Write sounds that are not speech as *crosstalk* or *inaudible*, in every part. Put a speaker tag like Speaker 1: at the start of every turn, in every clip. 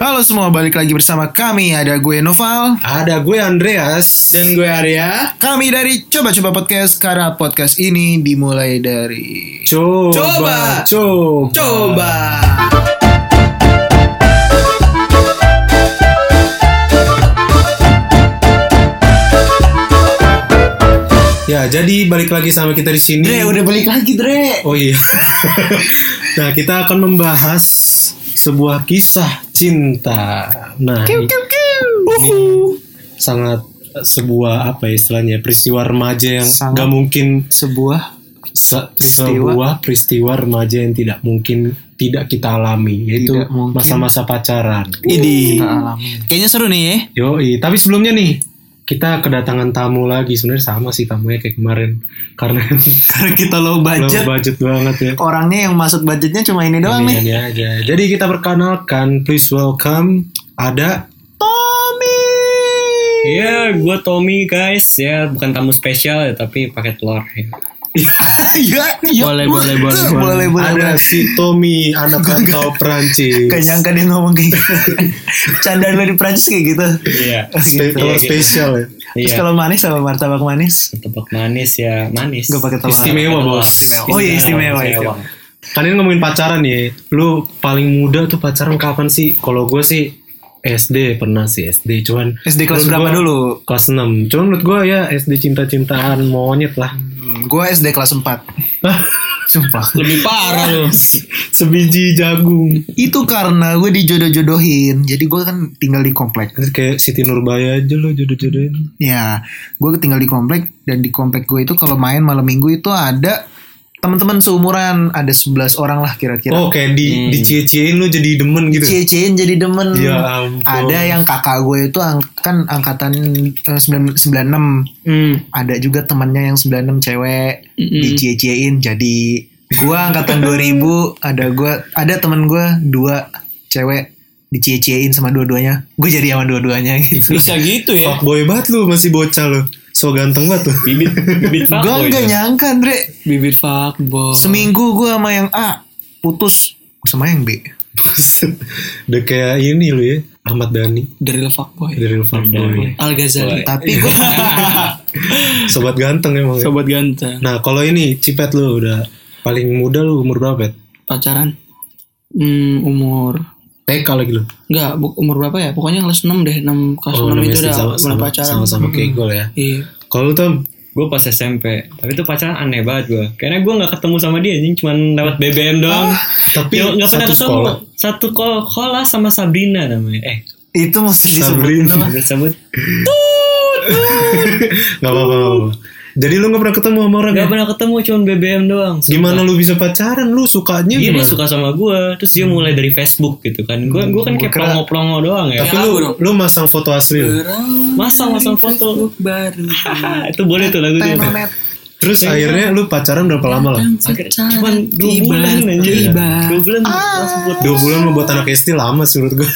Speaker 1: Halo semua, balik lagi bersama kami. Ada gue Noval.
Speaker 2: Ada gue Andreas
Speaker 3: Dan gue Arya
Speaker 1: Kami dari Coba Coba Podcast karena podcast ini dimulai dari
Speaker 2: coba
Speaker 3: Coba.
Speaker 2: coba.
Speaker 3: Coba
Speaker 2: Ya, jadi balik lagi sama kita di sini.
Speaker 1: Eh, balik lagi Dre.
Speaker 2: Oh iya. *laughs* nah, kita akan membahas sebuah kisah cinta. Nah, ini sangat eh, sebuah apa ya istilahnya peristiwa remaja yang
Speaker 1: Sangat.
Speaker 2: nggak mungkin
Speaker 1: Sebuah
Speaker 2: se-
Speaker 1: Peristiwa.
Speaker 2: sebuah peristiwa remaja yang tidak mungkin tidak kita alami yaitu
Speaker 1: Tidak mungkin.
Speaker 2: masa-masa pacaran. Nah,
Speaker 3: Ini
Speaker 1: kita alami. Kayaknya seru nih ya.
Speaker 2: Yoi, tapi sebelumnya nih kita kedatangan tamu lagi sebenarnya sama sih tamunya kayak kemarin karena *laughs*
Speaker 1: Karena kita low budget.
Speaker 2: budget, budget banget ya.
Speaker 1: Orangnya yang masuk budgetnya cuma ini
Speaker 3: Iya.
Speaker 1: doang nih. *laughs*
Speaker 2: Ini aja. Jadi kita perkenalkan please welcome ada
Speaker 1: Tommy.
Speaker 3: Iya gue Tommy guys Ya bukan tamu spesial ya Tapi pakai telur ya.
Speaker 1: Iya, iya.
Speaker 3: Boleh, boleh, boleh,
Speaker 1: *laughs* boleh, boleh.
Speaker 2: ada
Speaker 1: boleh.
Speaker 2: si
Speaker 1: *laughs*
Speaker 2: Tommy anak rantau Perancis.
Speaker 1: Gak nyangka dia ngomong kayak
Speaker 3: *laughs*
Speaker 1: gitu. Candaan lo di Prancis kayak gitu.
Speaker 3: Iya
Speaker 2: Spe- telur
Speaker 3: Iya,
Speaker 2: spesial ya.
Speaker 1: Terus
Speaker 3: Iya
Speaker 1: kalau manis sama martabak manis,
Speaker 3: Tebak manis ya Manis
Speaker 1: gue pakai telur.
Speaker 2: Istimewa bos.
Speaker 1: Istimewa. Oh iya istimewa. istimewa.
Speaker 2: Kalian Kan ngomongin pacaran ya. Lu paling muda tuh pacaran kapan sih? Kalau gue sih SD pernah sih SD cuman
Speaker 1: SD kelas
Speaker 2: menurut
Speaker 1: berapa
Speaker 2: gua-
Speaker 1: dulu?
Speaker 2: Kelas 6 Cuman menurut gue ya SD cinta-cintaan monyet lah
Speaker 1: Gue SD kelas 4 Sumpah.
Speaker 3: Lebih parah lu
Speaker 2: *laughs* Sebiji jagung
Speaker 1: Itu karena gue dijodoh-jodohin. Jadi gue kan tinggal di komplek.
Speaker 2: Kayak Siti Nurbaya aja lo jodoh-jodohin
Speaker 1: Ya, gue tinggal di komplek dan di komplek gue itu kalau main malam minggu itu ada teman-teman seumuran, ada 11 orang lah kira-kira.
Speaker 2: Oh kayak di, dicie-ciein lu jadi demen gitu
Speaker 1: Cie-ciein jadi demen.
Speaker 2: Ya ampun.
Speaker 1: ada yang kakak gue itu ang- kan angkatan eh, 9- 96.
Speaker 2: Hmm.
Speaker 1: ada juga temannya yang 96 cewek dicie-ciein jadi gua
Speaker 3: *laughs*
Speaker 1: angkatan 2000 ada gua ada teman gua dua cewek dicie-ciein sama dua-duanya gue jadi sama dua-duanya
Speaker 3: *laughs*
Speaker 1: gitu
Speaker 3: Bisa gitu ya
Speaker 2: Fuckboy banget lu masih bocah lu So ganteng banget tuh
Speaker 3: Bibit
Speaker 1: gue
Speaker 3: Bibit fuckboy
Speaker 1: nggak nyangka Andre
Speaker 3: Bibit fuckboy
Speaker 1: seminggu gua sama yang A putus sama yang B
Speaker 2: Udah kayak ini lu ya Ahmad Dhani
Speaker 4: The Real Fuckboy
Speaker 2: Dari Fuckboy
Speaker 4: Al Ghazali
Speaker 1: tapi
Speaker 3: *laughs*
Speaker 1: gue
Speaker 2: Sobat ganteng emang ya.
Speaker 4: Sobat ganteng
Speaker 2: Nah kalau ini Cipet lu udah Paling muda lu umur berapa Pet?
Speaker 4: Pacaran hmm, Umur
Speaker 2: TK lagi lu
Speaker 4: Enggak bu- umur berapa ya Pokoknya kelas 6 deh 6 Kelas 6 itu udah
Speaker 2: Oh, sama,
Speaker 4: mulai
Speaker 2: sama,
Speaker 4: pacaran
Speaker 2: sama-sama
Speaker 3: Hmm.
Speaker 2: kayak gue lah ya
Speaker 4: Iya
Speaker 2: Kalau lu tuh
Speaker 3: Gue pas SMP Tapi itu pacaran aneh banget gue Karena gue gak ketemu sama dia anjing Cuman lewat BBM doang
Speaker 2: tapi
Speaker 3: Ya,
Speaker 2: Ah,
Speaker 3: nggak pernah
Speaker 2: satu
Speaker 3: ketemu.
Speaker 2: sekolah.
Speaker 3: Satu kol kolah sama Sabrina namanya. Eh,
Speaker 1: *laughs* itu mesti disebutin
Speaker 2: Sabrina.
Speaker 1: apa?
Speaker 3: udah sebut.
Speaker 2: Gak apa-apa. nggak apa-apa. Jadi lu gak pernah ketemu sama orang ya?
Speaker 3: Gak pernah ketemu cuman BBM doang.
Speaker 2: Gimana lu bisa pacaran? Lu sukanya
Speaker 3: Dia, Iya, dia
Speaker 2: gimana?
Speaker 3: suka sama gue, terus dia mulai dari Facebook gitu kan. Gue
Speaker 2: Hmm,
Speaker 3: gue kan kayak
Speaker 1: Gua kira-
Speaker 3: promo-promo doang ya.
Speaker 2: Tapi lu, lu masang foto asli lu.
Speaker 3: Masang-masang foto.
Speaker 4: Baru
Speaker 3: Ah, itu boleh tuh lagu dia.
Speaker 1: Tenonet.
Speaker 2: Terus
Speaker 3: gitu.
Speaker 2: akhirnya lu pacaran berapa lama lah?
Speaker 3: Cuman dua bulan aja.
Speaker 4: Iya.
Speaker 3: Dua bulan langsung putus.
Speaker 2: Dua bulan mah buat anak SD lama sih menurut gue.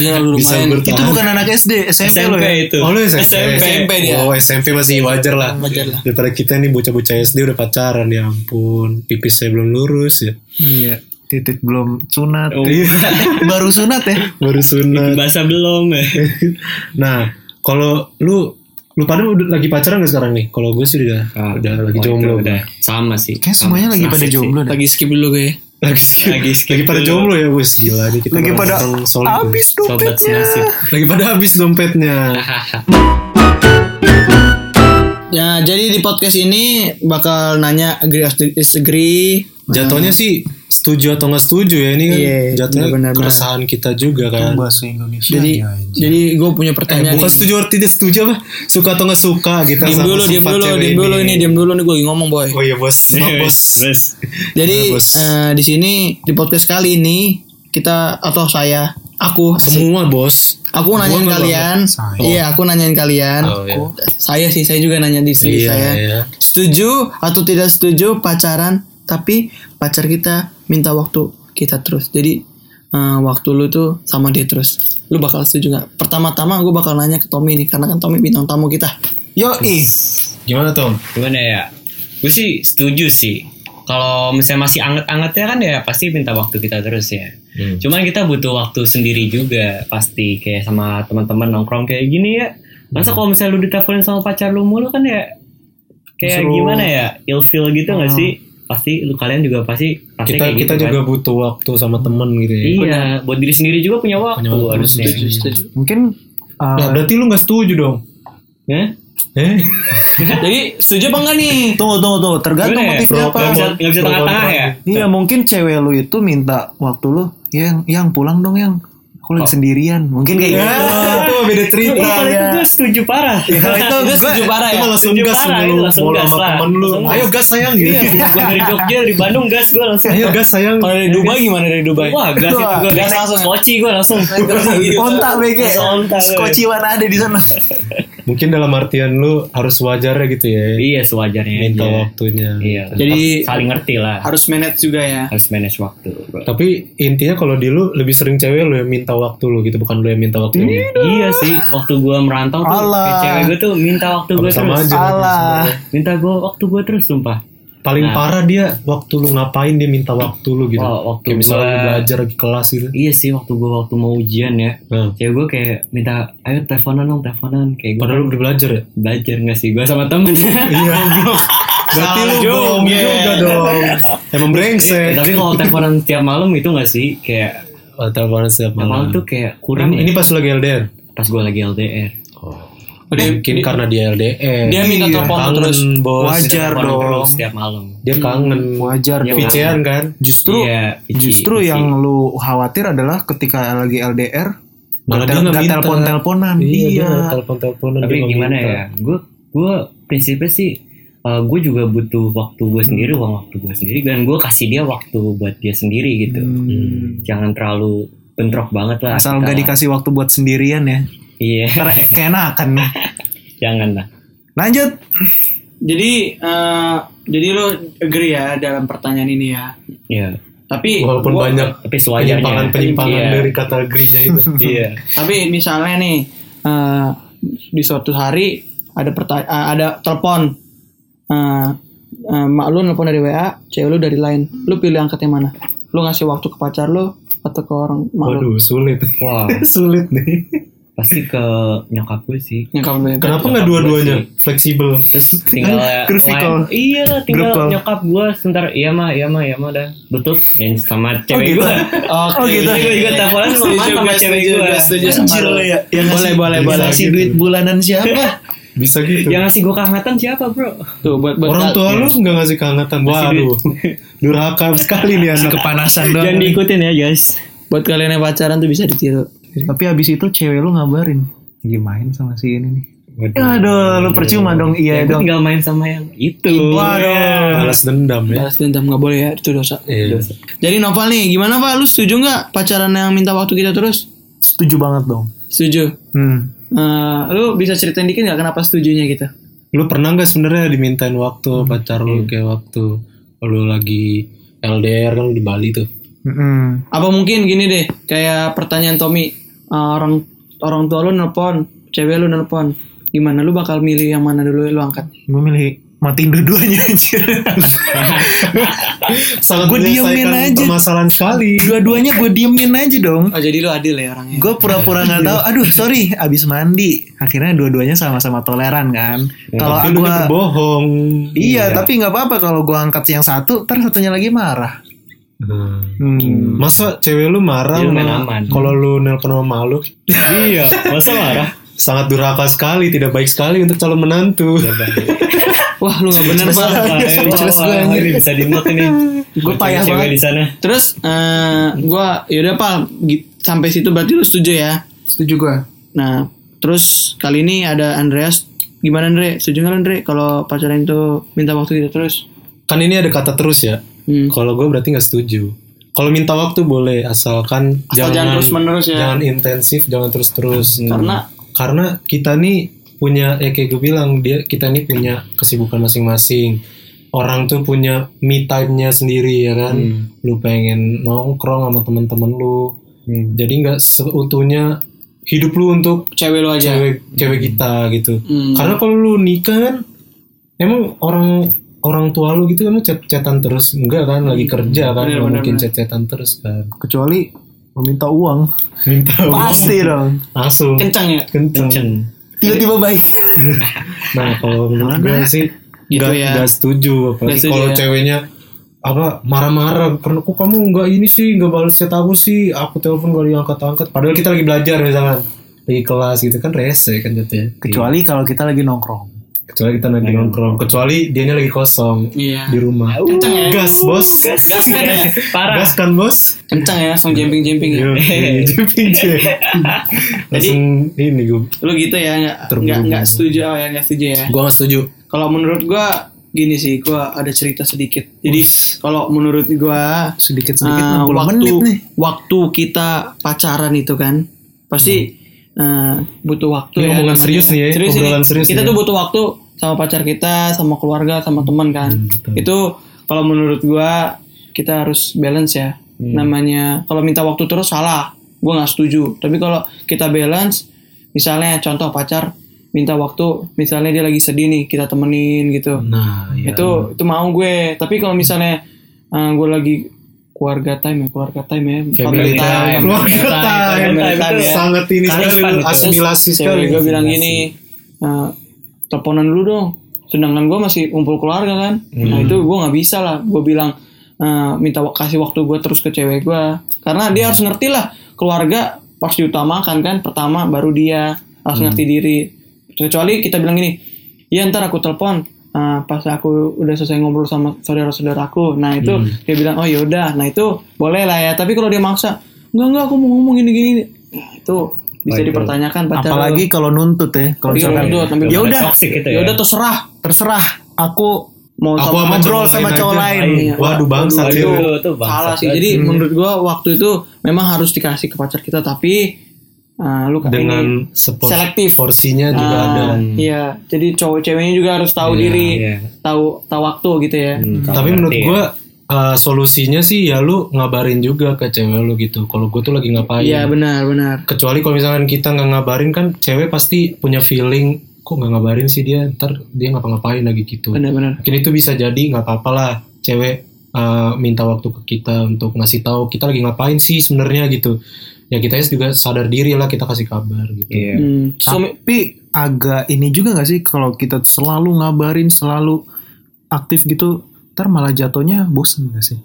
Speaker 4: Iya lu
Speaker 2: Bisa
Speaker 4: lumayan
Speaker 2: bertahan.
Speaker 1: itu
Speaker 3: Ah.
Speaker 1: bukan anak SD SMP, lo
Speaker 3: SMP
Speaker 1: ya
Speaker 3: itu.
Speaker 2: Oh lu SMP.
Speaker 3: SMP.
Speaker 4: SMP dia.
Speaker 2: Oh SMP masih wajar lah.
Speaker 4: Wajar lah.
Speaker 2: Daripada kita nih bocah-bocah SD udah pacaran ya ampun. Pipis saya belum lurus ya.
Speaker 1: iya titik belum sunat
Speaker 3: Oh,
Speaker 1: *laughs* baru sunat ya
Speaker 2: Baru sunat.
Speaker 3: bahasa
Speaker 2: *laughs*
Speaker 3: belum ya.
Speaker 2: nah kalau lu lu pada udah lagi pacaran gak sekarang nih? Kalau gue sih udah udah lagi
Speaker 3: Oh, itu
Speaker 2: jomblo.
Speaker 3: udah. Sama sih.
Speaker 1: kayak semuanya lagi pada jomblo deh
Speaker 4: Lagi skip dulu gue
Speaker 2: lagi
Speaker 3: Lagi
Speaker 2: lagi,
Speaker 3: skip
Speaker 2: lagi pada
Speaker 3: dulu.
Speaker 2: jomblo ya wes gila nih kita
Speaker 1: lagi pada
Speaker 2: orang-orang solid nih.
Speaker 1: habis
Speaker 3: Sobat
Speaker 1: dompetnya
Speaker 3: senasib.
Speaker 2: lagi pada habis dompetnya
Speaker 4: Ya jadi di podcast ini Bakal nanya Agree or disagree
Speaker 2: jatuhnya sih setuju atau nggak setuju ya ini kan
Speaker 4: Iya,
Speaker 2: jatuhnya
Speaker 4: benar-benar.
Speaker 2: keresahan kita juga kan
Speaker 1: bahasa Indonesia Iya.
Speaker 4: Jadi Jadi gue punya pertanyaan
Speaker 2: Eh, bukan
Speaker 4: nih.
Speaker 2: setuju artinya setuju apa suka atau nggak suka kita
Speaker 4: Diam
Speaker 2: sama
Speaker 4: dulu, diam
Speaker 2: sifat
Speaker 4: dulu,
Speaker 2: cewek
Speaker 4: diam dulu ini, diam dulu nih gue lagi ngomong boy.
Speaker 2: oh iya *laughs* bos maaf bos
Speaker 3: Terus.
Speaker 4: Jadi
Speaker 2: Bagus.
Speaker 4: eh, di sini di podcast kali ini kita atau saya aku
Speaker 2: semua bos
Speaker 4: aku nanyain
Speaker 2: nggak
Speaker 4: kalian.
Speaker 1: Saya.
Speaker 4: Iya, aku nanyain kalian.
Speaker 2: Oh, iya.
Speaker 4: Aku- Saya sih saya juga nanya di istri
Speaker 2: Iya,
Speaker 4: saya.
Speaker 2: iya.
Speaker 4: Setuju atau tidak setuju pacaran tapi pacar kita minta waktu kita terus. Jadi eh, waktu lu tuh sama dia terus. Lu bakal setuju nggak? Pertama-tama gue bakal nanya ke Tommy nih karena kan Tommy bintang tamu kita.
Speaker 1: Yo ih,
Speaker 2: Hmm. gimana Tom
Speaker 3: Gimana ya? Gue sih setuju sih. kalau misalnya masih anget-angetnya kan ya pasti minta waktu kita terus ya.
Speaker 2: Hmm.
Speaker 3: Cuman kita butuh waktu sendiri juga pasti kayak sama teman-teman nongkrong kayak gini ya. Masa kalau misalnya lu diteleponin sama pacar lu mulu kan ya kayak
Speaker 1: Justru-
Speaker 3: gimana ya? Ilfeel gitu nggak sih? Pasti lu kalian juga pasti pasti
Speaker 2: kita
Speaker 3: kayak
Speaker 2: kita
Speaker 3: gitu kan.
Speaker 2: juga butuh waktu sama temen gitu ya.
Speaker 3: Iya, buat diri sendiri juga punya waktu
Speaker 2: Punya waktu
Speaker 3: harusnya.
Speaker 2: sendiri.
Speaker 4: Setuju.
Speaker 1: Mungkin uh,
Speaker 2: Nah, berarti lu nggak setuju dong?
Speaker 3: Hah?
Speaker 2: Eh?
Speaker 4: Jadi setuju apa enggak nih?
Speaker 3: *laughs*
Speaker 1: tunggu tunggu tunggu tergantung
Speaker 3: Gimana ya?
Speaker 1: motifnya
Speaker 3: Nggak bisa
Speaker 1: apa.
Speaker 3: nggak bisa
Speaker 2: Pro
Speaker 3: tengah-tengah
Speaker 2: kontra.
Speaker 3: ya?
Speaker 1: Iya mungkin cewek lu itu minta waktu lu yang yang pulang dong yang aku
Speaker 2: Oh.
Speaker 1: lagi sendirian mungkin kayak
Speaker 2: Iya. *laughs* Ah.
Speaker 1: gitu.
Speaker 2: itu beda cerita.
Speaker 3: Kalau itu gue setuju parah.
Speaker 2: Iya.
Speaker 4: Kalau itu gue setuju parah
Speaker 2: Itu
Speaker 4: ya.
Speaker 2: langsung
Speaker 3: Setuju
Speaker 2: gas
Speaker 3: parah,
Speaker 2: lu
Speaker 3: itu langsung
Speaker 2: mau
Speaker 3: gas
Speaker 2: sama
Speaker 3: lah.
Speaker 2: temen lu.
Speaker 3: Langsung gas.
Speaker 2: Ayo gas sayang gitu.
Speaker 3: Iya, gue dari Jogja, dari Bandung gas gue langsung.
Speaker 2: *laughs* Ayo gas sayang.
Speaker 4: Kalau dari Dubai gimana dari Dubai?
Speaker 3: Wah, gas itu gue gas langsung. Koci gue langsung.
Speaker 1: Kontak BG.
Speaker 3: Kontak, weh.
Speaker 1: Skoci mana ada di sana.
Speaker 2: Mungkin dalam artian lu harus wajarnya gitu ya.
Speaker 3: Iya, sewajarnya.
Speaker 2: Minta
Speaker 3: aja.
Speaker 2: waktunya.
Speaker 3: Iya.
Speaker 4: Jadi-
Speaker 3: saling ngerti lah.
Speaker 4: Harus manage juga ya.
Speaker 3: Harus manage waktu. bro.
Speaker 2: Tapi intinya kalau di lu lebih sering cewek lu yang minta waktu lu gitu bukan lu yang minta waktu dia.
Speaker 3: Iya sih, waktu gue merantau tuh,
Speaker 1: Alah.
Speaker 3: kayak cewek gue tuh minta waktu gue
Speaker 2: Sama
Speaker 3: terus.
Speaker 2: aja.
Speaker 1: Salah.
Speaker 3: Minta gue waktu gue terus, sumpah.
Speaker 2: Paling
Speaker 3: Nah.
Speaker 2: parah dia waktu lu ngapain dia minta waktu lu gitu.
Speaker 3: Oh, waktu
Speaker 2: Kayak misalnya
Speaker 3: gua-
Speaker 2: lu belajar lagi kelas gitu.
Speaker 3: Iya sih, waktu gue waktu mau ujian ya.
Speaker 2: Nah,
Speaker 3: Cewek gue kayak minta, ayo teleponan dong, teleponan. Kayak gue
Speaker 2: padahal lu udah belajar ya.
Speaker 3: belajar nggak sih gue sama temen
Speaker 2: Iya, goblok. Berarti lu bohong juga dong. Emang
Speaker 3: Eh,
Speaker 2: brengsek.
Speaker 3: *laughs* tapi kalau teleponan tiap malam itu nggak sih kayak
Speaker 2: Oh, teleponan setiap
Speaker 3: tiap malam
Speaker 2: malam.
Speaker 3: tuh kayak kurang
Speaker 2: Ini, ini
Speaker 3: ya
Speaker 2: pas lu lagi LDR.
Speaker 3: pas gue lagi LDR
Speaker 2: Mungkin karena dia LDR.
Speaker 4: Dia minta telepon
Speaker 2: Iya, kangen,
Speaker 4: terus.
Speaker 2: bos.
Speaker 1: Wajar
Speaker 3: Teleponan
Speaker 1: dong.
Speaker 3: terus tiap malam
Speaker 2: Dia kangen.
Speaker 1: Hmm, Wajar dong.
Speaker 2: Vician kan?
Speaker 1: Justru
Speaker 3: Iya, Vici,
Speaker 1: justru
Speaker 3: Vici.
Speaker 1: yang lu khawatir adalah ketika lagi LDR
Speaker 2: Malah dia
Speaker 1: gak-
Speaker 2: nggak
Speaker 1: gak
Speaker 2: minta.
Speaker 1: telepon-teleponan.
Speaker 2: Iya, dia
Speaker 1: Iya.
Speaker 2: nggak telepon-teleponan.
Speaker 3: tapi
Speaker 2: dia nggak
Speaker 3: gimana
Speaker 2: minta.
Speaker 3: ya gue gue prinsipnya sih eh, gue juga butuh waktu gue sendiri uang waktu gue sendiri dan gue kasih dia waktu buat dia sendiri gitu jangan terlalu bentrok banget lah
Speaker 1: Asal
Speaker 3: kita.
Speaker 1: nggak dikasih waktu buat sendirian ya.
Speaker 3: iya
Speaker 1: Karena keenakan nih.
Speaker 3: *laughs* jangan lah
Speaker 1: Lanjut.
Speaker 4: Jadi eh, jadi lo agree ya dalam pertanyaan ini ya.
Speaker 3: Iya
Speaker 4: Tapi
Speaker 2: Walaupun
Speaker 4: gua-
Speaker 2: banyak
Speaker 3: tapi sewajarnya
Speaker 2: penyimpangan-penyimpangan
Speaker 3: Iya.
Speaker 2: dari kata agree-nya itu.
Speaker 3: iya
Speaker 4: Tapi misalnya nih eh, di suatu hari ada perta- eh, ada telepon Eh, eh, mak lu nelpon dari WA, cewek lu dari lain. Lu pilih angkat yang mana? Lu ngasih waktu ke pacar lu atau ke orang mak
Speaker 2: Waduh,
Speaker 4: lu?
Speaker 2: sulit.
Speaker 3: wow
Speaker 2: sulit nih.
Speaker 3: pasti ke nyokap gue sih
Speaker 4: Yang kamu pilih.
Speaker 2: Kenapa nggak dua-duanya? Fleksibel.
Speaker 3: terus tinggal
Speaker 1: Crucical.
Speaker 3: main- iya lah tinggal
Speaker 1: Grup call.
Speaker 3: nyokap gue sebentar iya mah iya mah iya mah dah tutup yang sama cewek gue
Speaker 4: Oke.
Speaker 3: oh gitu gue juga teleponan sama,
Speaker 4: Setuju,
Speaker 3: sama
Speaker 4: gue
Speaker 3: cewek
Speaker 4: setuyu,
Speaker 3: gue
Speaker 4: gue setuju sama
Speaker 1: Anjir
Speaker 4: lu.
Speaker 1: lo ya. Yang
Speaker 4: Boleh,
Speaker 1: ngasih-
Speaker 4: boleh,
Speaker 1: yang
Speaker 4: boleh. Eh.
Speaker 1: ngasih duit bulanan siapa?
Speaker 2: Bisa gitu.
Speaker 3: yang ngasih gue kehangatan siapa bro
Speaker 4: Tuh buat buat
Speaker 2: Orang tua lu nggak ngasih kehangatan. Waduh. *laughs* Durhaka sekali nih anak.
Speaker 1: Kepanasan
Speaker 3: jangan
Speaker 1: doang.
Speaker 3: diikutin ya guys
Speaker 4: buat kalian yang pacaran tuh bisa ditiru.
Speaker 1: Tapi habis itu cewek lu ngabarin. Lagi main sama si ini nih. Aduh, lu percuma dong. Iya
Speaker 3: gue
Speaker 1: dong.
Speaker 3: tinggal main sama yang itu
Speaker 1: Waduh.
Speaker 2: Balas dendam ya.
Speaker 4: Balas dendam nggak boleh ya, itu dosa.
Speaker 2: Iya.
Speaker 4: Jadi Noval nih, gimana Pak? Lu setuju nggak pacaran yang minta waktu kita terus?
Speaker 1: Setuju banget dong.
Speaker 4: Setuju.
Speaker 1: Hmm.
Speaker 4: Eh, lu bisa ceritain dikit nggak kenapa setujunya gitu?
Speaker 2: Lu pernah nggak sebenarnya dimintain waktu pacar lu kayak waktu lu lagi LDR kan lu di Bali tuh.
Speaker 1: Mm-mm.
Speaker 4: Apa mungkin gini deh, kayak pertanyaan Tommy, eh, orang orang tua lu nelpon, cewek lu nelpon, gimana lu bakal milih yang mana dulu lu angkat?
Speaker 1: Gue milih matiin dua-duanya
Speaker 4: *laughs*
Speaker 1: anjir.
Speaker 2: Sangat
Speaker 1: Gua diemin
Speaker 2: menyelesaikan
Speaker 1: aja.
Speaker 2: Permasalahan sekali.
Speaker 1: Dua-duanya gue diemin aja dong.
Speaker 4: Oh jadi lu adil ya orangnya.
Speaker 1: Gue pura-pura nggak tahu. Aduh, sorry, abis mandi. Akhirnya dua-duanya sama-sama toleran kan. Kalau
Speaker 2: Tapi lu
Speaker 1: gue
Speaker 2: dia berbohong.
Speaker 1: Iya, tapi nggak apa-apa kalau gue angkat yang satu, ntar satunya lagi marah.
Speaker 2: Hmm.
Speaker 1: Hmm.
Speaker 2: Masa cewek lu marah
Speaker 3: Dia
Speaker 2: sama-
Speaker 3: main aman.
Speaker 2: kalau lu nelpon sama malu?
Speaker 3: iya masa marah
Speaker 2: Sangat durhaka sekali, tidak baik sekali untuk calon menantu.
Speaker 4: Iya, Wah lu nggak bener *laughs* pak.
Speaker 3: Jelas gue anjir bisa dimuat ini.
Speaker 1: Gua payah
Speaker 3: Cewek
Speaker 1: banget.
Speaker 3: di sana.
Speaker 4: Terus eh, gua gue yaudah pak, gi- sampai situ berarti lu setuju ya?
Speaker 1: Setuju gue.
Speaker 4: Nah terus kali ini ada Andreas. Gimana Andre? Setuju nggak lu, Andre kalau pacaran itu minta waktu kita terus?
Speaker 2: *laughs* kan ini ada kata terus ya.
Speaker 4: Hmm.
Speaker 2: Kalau gue berarti nggak setuju. Kalau minta waktu boleh, asalkan
Speaker 4: Asal jangan terus-menerus ya.
Speaker 2: Jangan intensif, jangan terus-terus.
Speaker 4: Karena-
Speaker 2: karena kita nih punya ya kayak gue bilang dia kita nih punya kesibukan masing-masing. Orang tuh punya me time-nya sendiri ya kan. Lu pengen nongkrong sama teman-teman lu. Jadi nggak seutuhnya hidup lu untuk
Speaker 4: Cewek lu aja.
Speaker 2: cewek cewek kita gitu.
Speaker 4: Iya. Hmm.
Speaker 2: Karena kalau lu nikah kan emang orang orang tua lu gitu kamu chat-chatan terus enggak kan lagi kerja kan nggak mungkin chat-chatan terus kan
Speaker 1: kecuali meminta uang
Speaker 2: minta
Speaker 1: pasti dong
Speaker 2: langsung
Speaker 4: kencang ya
Speaker 2: kenceng
Speaker 4: tiba-tiba baik
Speaker 1: Iya.
Speaker 2: nah kalau menurut gue sih
Speaker 4: Ah, Gitu
Speaker 2: nggak
Speaker 4: ya.
Speaker 2: nggak setuju apalagi
Speaker 4: Nggak setuju
Speaker 2: kalau
Speaker 4: ya.
Speaker 2: ceweknya apa marah-marah karena kok kamu nggak ini sih nggak balas chat aku sih aku telepon gak diangkat-angkat padahal kita lagi belajar misalkan lagi kelas gitu kan rese kan jatuhnya
Speaker 1: kecuali kalau kita lagi nongkrong
Speaker 2: kecuali kita lagi nongkrong kecuali dianya lagi kosong
Speaker 4: iya
Speaker 2: ya? di rumah
Speaker 4: Kenceng ya.
Speaker 2: gas bos
Speaker 4: gas gas
Speaker 3: Parah.
Speaker 2: gas kan bos
Speaker 4: kencang ya
Speaker 2: Iya.
Speaker 4: langsung jemping jemping *laughs* ya
Speaker 2: Yoi, jepit,
Speaker 4: *laughs*
Speaker 2: jepit. Langsung ini gue
Speaker 4: lu gitu ya nggak- nggak nggak setuju oh ya nggak setuju ya
Speaker 2: Gue gak setuju
Speaker 4: kalau menurut gua gini sih gua ada cerita sedikit jadi kalau menurut gua
Speaker 1: sedikit sedikit
Speaker 4: eh,
Speaker 1: 60
Speaker 4: waktu
Speaker 1: menit nih
Speaker 4: waktu kita pacaran itu kan pasti eh, butuh waktu
Speaker 2: Hmm. Ini
Speaker 4: ya,
Speaker 2: omongan
Speaker 4: namanya.
Speaker 2: serius nih ya,
Speaker 4: ini.
Speaker 2: obrolan serius
Speaker 4: kita
Speaker 2: nih ya.
Speaker 4: tuh butuh waktu sama pacar kita sama keluarga sama teman kan
Speaker 2: Hmm,
Speaker 4: itu kalau menurut gua kita harus balance ya
Speaker 2: Hmm.
Speaker 4: namanya kalau minta waktu terus salah gua nggak setuju tapi kalau kita balance misalnya contoh pacar minta waktu misalnya dia lagi sedih nih kita temenin gitu
Speaker 2: Nah ya
Speaker 4: itu itu mau gue tapi kalau misalnya eh, gue lagi keluarga time ya keluarga time ya
Speaker 2: Family time Keluarga time
Speaker 4: family time ya.
Speaker 2: Sangat ini
Speaker 4: Terus-
Speaker 2: sekali lu,
Speaker 4: terus
Speaker 2: Asimilasi
Speaker 4: cewek
Speaker 2: sekali
Speaker 4: gue bilang gini eh, teleponan dulu dong sedangkan gue masih kumpul keluarga kan nah itu gue nggak bisa lah gue bilang eh, minta wak- kasih waktu gue terus ke cewek gue karena dia harus ngerti lah keluarga harus diutamakan kan pertama baru dia harus ngerti diri kecuali kita bilang gini ya ntar aku telepon eh, pas aku udah selesai ngobrol sama saudara-saudaraku nah itu dia bilang oh yaudah nah itu boleh lah ya tapi kalau dia maksa enggak enggak aku mau ngomong gini gini nah, itu bisa dipertanyakan
Speaker 1: Nah,
Speaker 4: pacar
Speaker 1: apalagi kalau nuntut ya kalau
Speaker 4: Apalagi
Speaker 1: misalkan
Speaker 4: nuntut, sambil-
Speaker 1: ya udah
Speaker 3: Toxic gitu
Speaker 4: ya
Speaker 3: ya.
Speaker 4: udah terserah
Speaker 1: terserah aku
Speaker 4: mau
Speaker 2: Aku
Speaker 4: sama
Speaker 2: sama
Speaker 1: ngobrol
Speaker 2: cowok
Speaker 1: sama
Speaker 2: lain
Speaker 1: cowok
Speaker 2: aja.
Speaker 1: lain
Speaker 4: Iya.
Speaker 2: Waduh bangsa
Speaker 4: Waduh,
Speaker 2: sih Hmm.
Speaker 4: itu
Speaker 3: lu tuh bangsat
Speaker 4: salah sih
Speaker 3: banget.
Speaker 4: jadi menurut gua waktu itu memang harus dikasih ke pacar kita tapi eh, lu kayak ini
Speaker 2: Dengan sepor-
Speaker 4: selektif.
Speaker 2: Porsinya juga
Speaker 4: Ah,
Speaker 2: ada Hmm. Iya,
Speaker 4: iya jadi cowok ceweknya juga harus tahu diri tahu tahu waktu gitu ya
Speaker 3: Hmm,
Speaker 2: Tapi menurut gue eh, Solusinya sih ya lu ngabarin juga ke cewek lu gitu Kalau gue tuh lagi ngapain
Speaker 4: iya benar benar
Speaker 2: kecuali kalau misalkan kita nggak ngabarin kan cewek pasti punya feeling kok nggak ngabarin sih dia ntar dia ngapa-ngapain lagi gitu
Speaker 4: benar benar
Speaker 2: mungkin itu bisa jadi nggak apa-apa lah cewek eh, minta waktu ke kita untuk ngasih tahu kita lagi ngapain sih sebenarnya gitu ya kita juga sadar diri lah kita kasih kabar gitu
Speaker 3: Iya.
Speaker 4: Hmm. Suami-
Speaker 1: tapi agak ini juga nggak sih kalau kita selalu ngabarin selalu aktif gitu ntar malah jatuhnya bosen gak sih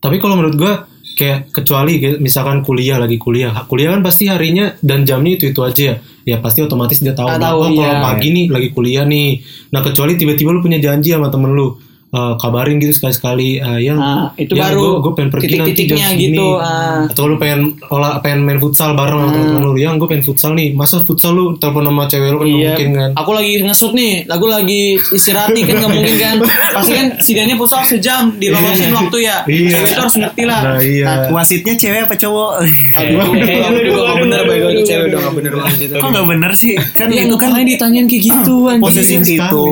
Speaker 2: tapi kalau menurut gua kayak kecuali kayak misalkan kuliah lagi kuliah kuliah kan pasti harinya dan jamnya itu itu aja ya ya pasti otomatis dia tahu
Speaker 4: Ah,
Speaker 2: bahwa,
Speaker 4: tahu,
Speaker 2: oh, kalau
Speaker 4: iya.
Speaker 2: pagi nih lagi kuliah nih nah kecuali tiba-tiba lu punya janji sama temen lu eh, kabarin gitu sekali-sekali eh, yang
Speaker 4: Ah, itu
Speaker 2: yang
Speaker 4: baru
Speaker 2: gua- gua pengen pergi nanti jam
Speaker 4: titik-titiknya
Speaker 2: segini.
Speaker 4: gitu, ah.
Speaker 2: atau lu pengen olah pengen main futsal bareng sama temen lu yang gue pengen futsal nih masa futsal lu telepon sama cewek lu kan nggak
Speaker 4: Iya,
Speaker 2: mungkin kan
Speaker 4: aku lagi ngesut nih, aku lagi istirahat nih kan nggak mungkin kan. Pasti kan sidangnya pusat sejam dilolosin waktu ya.
Speaker 2: Iya.
Speaker 4: Cewek itu harus ngerti lah.
Speaker 2: nah iya
Speaker 1: wasitnya cewek apa cowok
Speaker 4: *laughs* Aduh, aku juga nggak bener baik itu cewek udah nggak bener banget itu.
Speaker 1: kok nggak bener sih kan
Speaker 4: Iya,
Speaker 1: itu kan
Speaker 4: ngapain ditanyain kayak gitu anjing.
Speaker 1: posesif
Speaker 2: Penting
Speaker 1: itu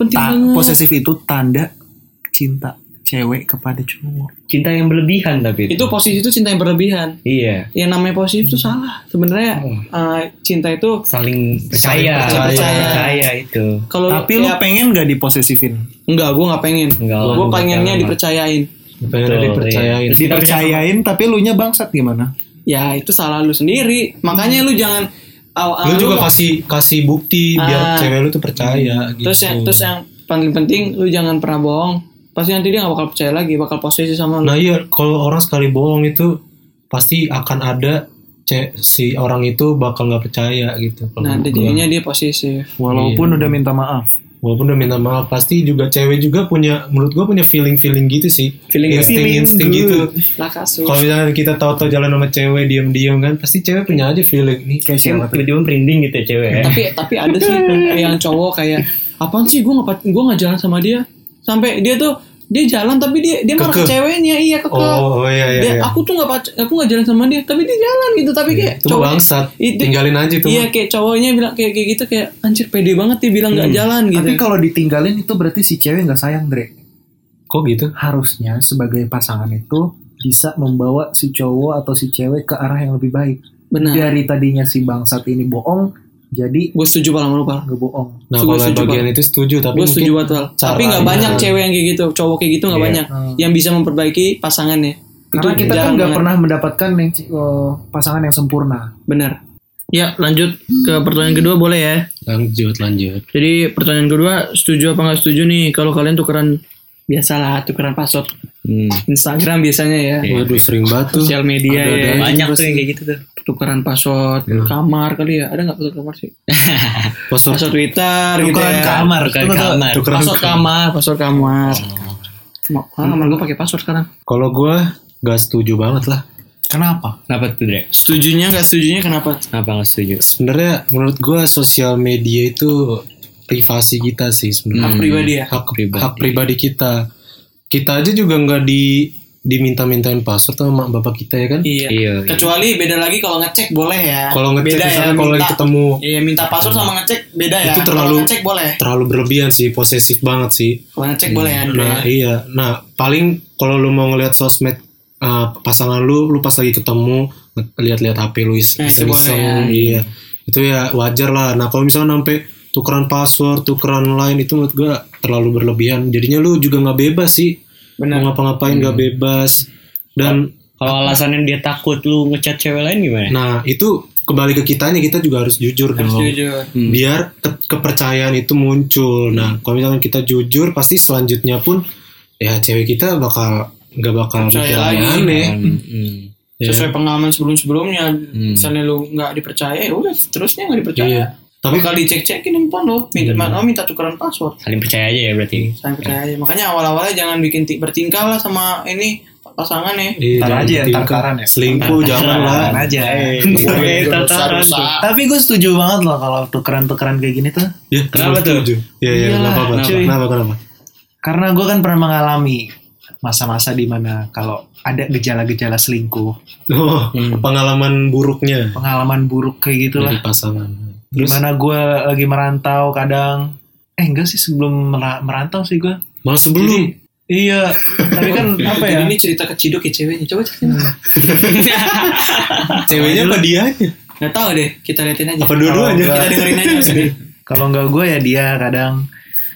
Speaker 4: Penting
Speaker 1: ta-
Speaker 4: banget.
Speaker 1: posesif itu tanda cinta cewek kepada cowok
Speaker 3: cinta yang berlebihan tapi
Speaker 4: Itu posisi itu cinta yang berlebihan.
Speaker 3: iya
Speaker 4: Yang namanya posisi itu salah. Sebenarnya
Speaker 2: Ah.
Speaker 4: eh, cinta itu
Speaker 3: saling percaya
Speaker 4: percaya.
Speaker 3: percaya itu
Speaker 4: kalau
Speaker 1: tapi lu
Speaker 4: ya,
Speaker 1: pengen nggak diposesifin
Speaker 4: enggak, gue nggak pengen.
Speaker 3: Enggak lah,
Speaker 4: Gue
Speaker 3: enggak,
Speaker 4: pengennya
Speaker 3: enggak.
Speaker 4: dipercayain.
Speaker 2: pengen
Speaker 3: Betul,
Speaker 2: dipercayain
Speaker 3: iya. Terus dipercaya
Speaker 1: dipercayain tapi lu nya bangsat gimana
Speaker 4: Ya itu salah lu sendiri. Makanya lu jangan
Speaker 2: lu
Speaker 4: aw- aw-
Speaker 2: juga kasih kasih bukti
Speaker 4: Ah.
Speaker 2: biar cewek lu tuh percaya gitu
Speaker 4: Terus yang terus yang paling penting lu jangan pernah bohong. Pasti nanti dia gak bakal percaya lagi, bakal posisi sama lu.
Speaker 2: Nah iya, kalau orang sekali bohong itu pasti akan ada ce- si orang itu bakal nggak percaya gitu. Kalau
Speaker 4: Nah,
Speaker 2: menurut gua.
Speaker 4: jadinya dia posisi.
Speaker 1: walaupun
Speaker 4: Iya.
Speaker 1: udah minta maaf
Speaker 2: Walaupun udah minta maaf, pasti juga cewek juga punya, menurut gua punya feeling-feeling gitu sih.
Speaker 3: Feeling-
Speaker 1: feeling
Speaker 2: Insting-insting gitu.
Speaker 4: Lah kasus.
Speaker 2: Kalau misalnya kita tahu-tahu jalan sama cewek diam-diam kan, pasti cewek punya aja feeling nih.
Speaker 1: kayak siapa tuh
Speaker 3: tiba-tiba merinding gitu ya cewek ya.
Speaker 4: Tapi tapi ada sih yang cowok kayak apaan sih gua gak gua nggak jalan sama dia. Sampai dia tuh dia jalan tapi dia dia marah ke
Speaker 2: Kekeh.
Speaker 4: ceweknya. Iya, kekeh.
Speaker 2: Oh, oh, iya iya.
Speaker 4: Dia- "Ah,
Speaker 2: iya.
Speaker 4: aku tuh gak pac- aku gak jalan sama dia, tapi dia jalan gitu. Tapi kayak
Speaker 2: Itu mah bangsat,
Speaker 4: itu-
Speaker 2: tinggalin aja tuh.
Speaker 4: Iya, kayak cowoknya bilang kayak kayak gitu kayak anjir pede banget dia bilang
Speaker 2: Hmm.
Speaker 4: nggak jalan gitu.
Speaker 1: tapi kalau ditinggalin itu berarti si cewek nggak sayang Dre
Speaker 2: Kok gitu?
Speaker 1: harusnya sebagai pasangan itu bisa membawa si cowok atau si cewek ke arah yang lebih baik
Speaker 4: Benar.
Speaker 1: dari tadinya si bangsat ini bohong Jadi
Speaker 4: Gue setuju pal sama lu pal.
Speaker 1: nggak bohong.
Speaker 2: Nah, kalau
Speaker 4: Gua setuju,
Speaker 2: bagian itu setuju, tapi
Speaker 4: Gue
Speaker 2: mungkin
Speaker 4: setuju banget pal. Tapi
Speaker 2: caranya-
Speaker 4: nggak banyak cewek yang kayak gitu, cowok kayak gitu nggak
Speaker 3: Iya.
Speaker 4: banyak. Yang bisa memperbaiki pasangannya.
Speaker 1: Karena
Speaker 4: Itu
Speaker 1: kita kan
Speaker 4: jarang
Speaker 1: nggak
Speaker 4: banget.
Speaker 1: pernah mendapatkan yang, eh, pasangan yang sempurna.
Speaker 4: Benar. Ya lanjut ke pertanyaan kedua boleh ya.
Speaker 2: lanjut lanjut.
Speaker 4: Jadi pertanyaan kedua setuju apa nggak setuju nih kalau kalian tukeran biasalah tukeran password
Speaker 3: *laughs* Hmm.
Speaker 4: Instagram biasanya ya
Speaker 2: Waduh sering batu. *laughs*
Speaker 4: sosial
Speaker 2: Ada-
Speaker 4: media ya
Speaker 2: ada.
Speaker 3: Banyak tuh yang kayak gitu tuh.
Speaker 4: tukeran password kamar kali ya ada nggak password kamar sih
Speaker 2: Password
Speaker 4: password Twitter gitu ya
Speaker 1: kamar,
Speaker 3: Tukeran kamar.
Speaker 2: Nah, tukeran
Speaker 4: password kamar password kamar Mau- ah, kamar gue pakai password sekarang
Speaker 2: Kalau gue gak setuju banget lah.
Speaker 1: Kenapa?
Speaker 3: Kenapa tuh, Dre?
Speaker 4: setujunya nggak setujunya kenapa
Speaker 3: Kenapa nggak setuju?
Speaker 2: Sebenarnya menurut gue sosial media itu privasi kita sih sebenarnya.
Speaker 4: hak pribadi ya
Speaker 2: Hak, hak pribadi kita. Kita aja juga nggak di diminta-mintain password sama mak bapak kita ya kan?
Speaker 4: iya.
Speaker 3: Iya, iya.
Speaker 4: kecuali beda lagi kalau ngecek boleh ya
Speaker 2: Kalau ngecek
Speaker 4: beda
Speaker 2: misalnya kalau lagi
Speaker 4: minta-
Speaker 2: ketemu Hmm.
Speaker 4: Iya minta password sama ngecek beda ya.
Speaker 2: Itu
Speaker 4: Kalau
Speaker 2: terlalu-
Speaker 4: ngecek boleh.
Speaker 2: terlalu berlebihan sih, posesif banget sih.
Speaker 4: Kalau ngecek boleh ya. Andre.
Speaker 2: Nah iya, nah paling kalau lu mau ngelihat sosmed uh, pasangan lu, lu pas lagi ketemu nge- lihat-lihat HP lu is-
Speaker 4: Nah, itu
Speaker 2: iseng-iseng,
Speaker 4: boleh,
Speaker 2: iya. Itu ya wajar lah. Nah kalau misalnya sampai tukeran password, tukeran lain itu menurut gua terlalu berlebihan. Jadinya lu juga nggak bebas sih.
Speaker 4: Benar. Hmm.
Speaker 2: Mau ngapa-ngapain nggak bebas. Dan
Speaker 3: Kalau alasannya dia takut lu ngechat cewek lain gimana?
Speaker 2: nah itu kembali ke kitanya kita juga harus jujur dong.
Speaker 4: Jujur.
Speaker 1: Hmm.
Speaker 2: biar ke- kepercayaan itu muncul. Nah, kalau misalkan kita jujur, pasti selanjutnya pun ya cewek kita bakal nggak bakal
Speaker 4: Percaya
Speaker 2: mikir
Speaker 4: lagi.
Speaker 2: iya, aneh.
Speaker 3: Hmm.
Speaker 2: Ya.
Speaker 4: Sesuai pengalaman sebelum-sebelumnya, misalnya lu nggak dipercaya, ya udah seterusnya nggak dipercaya.
Speaker 2: Hmm. Iya. Tapi Iya.
Speaker 4: Tapi kalau dicek-cekin handphone lo, minta, oh, minta tukeran password.
Speaker 3: Saling percaya aja ya berarti.
Speaker 4: Saya percaya
Speaker 2: Iya.
Speaker 4: aja. Makanya awal-awalnya jangan bikin ti- bertingkah lah sama ini pasangan ya.
Speaker 2: iya,
Speaker 1: Ntar
Speaker 2: jangan
Speaker 1: aja, ntar
Speaker 2: ditingkat.
Speaker 1: karan ya.
Speaker 2: Selingkuh Oh, jangan lah. Eh,
Speaker 1: Taran aja.
Speaker 3: Oke, tataran tuh.
Speaker 1: Tapi gue setuju banget loh kalau tukeran-tukeran kayak gini tuh.
Speaker 2: Ya,
Speaker 3: Kenapa
Speaker 2: setuju, setuju. Iya, iya,
Speaker 1: Iyalah,
Speaker 2: kenapa, kenapa,
Speaker 1: cuy.
Speaker 2: kenapa, kenapa?
Speaker 1: Karena gue kan pernah mengalami masa-masa di mana kalau ada gejala-gejala selingkuh,
Speaker 2: Oh,
Speaker 1: Hmm.
Speaker 2: pengalaman buruknya
Speaker 1: pengalaman buruk kayak gitu
Speaker 2: dari
Speaker 1: gitulah.
Speaker 2: pasangan. Terus
Speaker 1: Gimana gue lagi merantau kadang, eh enggak sih sebelum mera- merantau sih gue.
Speaker 2: malah sebelum
Speaker 1: Iya, tapi kan apa ya?
Speaker 4: Jadi ini cerita keciduk ya ceweknya. Coba cek.
Speaker 2: Hmm.
Speaker 1: *laughs*
Speaker 2: ceweknya apa dianya?
Speaker 4: Nggak tahu deh. Kita liatin aja.
Speaker 2: Apa dua-duanya?
Speaker 4: Kita dengerin aja
Speaker 2: *laughs*
Speaker 4: abis ini.
Speaker 1: Kalau enggak gue ya dia kadang.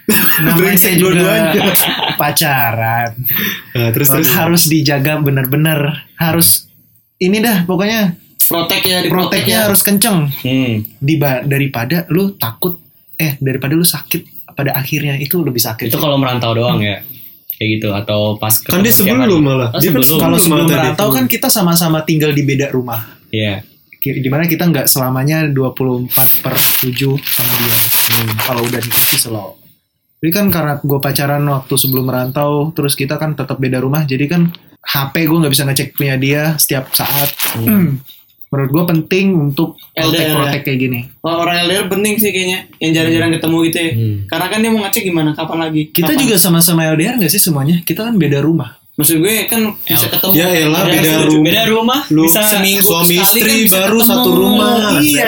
Speaker 1: Namanya
Speaker 2: Brengsek
Speaker 1: juga
Speaker 2: dua-duanya.
Speaker 1: pacaran.
Speaker 2: Nah, terus terus
Speaker 1: harus dijaga bener-bener harus ini dah pokoknya
Speaker 4: Protek ya, di
Speaker 1: proteknya harus kenceng
Speaker 3: Hmm.
Speaker 1: Diba- daripada lu takut eh daripada lu sakit pada akhirnya itu lebih sakit
Speaker 3: Itu kalau merantau doang ya. Kayak gitu atau pas
Speaker 2: Hmm. kan dia
Speaker 3: ketemu tiap hari.
Speaker 2: sebelum malah.
Speaker 3: Oh,
Speaker 2: Dia kan
Speaker 3: sebelum.
Speaker 1: kalau sebelum
Speaker 2: malah tadi.
Speaker 1: merantau kan kita sama-sama tinggal di beda rumah
Speaker 3: Iya.
Speaker 1: Ki- dimana kita nggak selamanya 24 per 7 sama dia kalau udah nikah sih selalu jadi kan karena gue pacaran waktu sebelum merantau terus kita kan tetap beda rumah jadi kan HP gue nggak bisa ngecek punya dia setiap saat *clears throat* menurut gue penting untuk
Speaker 4: LDR.
Speaker 1: protek-protek kayak gini
Speaker 4: Wah, Oh, orang LDR penting sih kayaknya yang jarang-jarang ketemu gitu ya.
Speaker 2: Hmm.
Speaker 4: Karena kan dia mau ngecek gimana kapan lagi.
Speaker 1: Kita
Speaker 4: Kapan?
Speaker 1: juga sama-sama LDR gak sih semuanya? Kita kan beda rumah.
Speaker 4: maksud gue kan bisa ketemu. Iya,
Speaker 2: Ya elah
Speaker 4: Ada
Speaker 2: beda
Speaker 4: setuju-
Speaker 2: rumah.
Speaker 4: Beda rumah
Speaker 2: Lu
Speaker 4: bisa seminggu
Speaker 2: suami
Speaker 4: sekali
Speaker 2: istri
Speaker 4: kan bisa
Speaker 2: baru
Speaker 4: ketemu.
Speaker 2: satu rumah.
Speaker 4: Iya.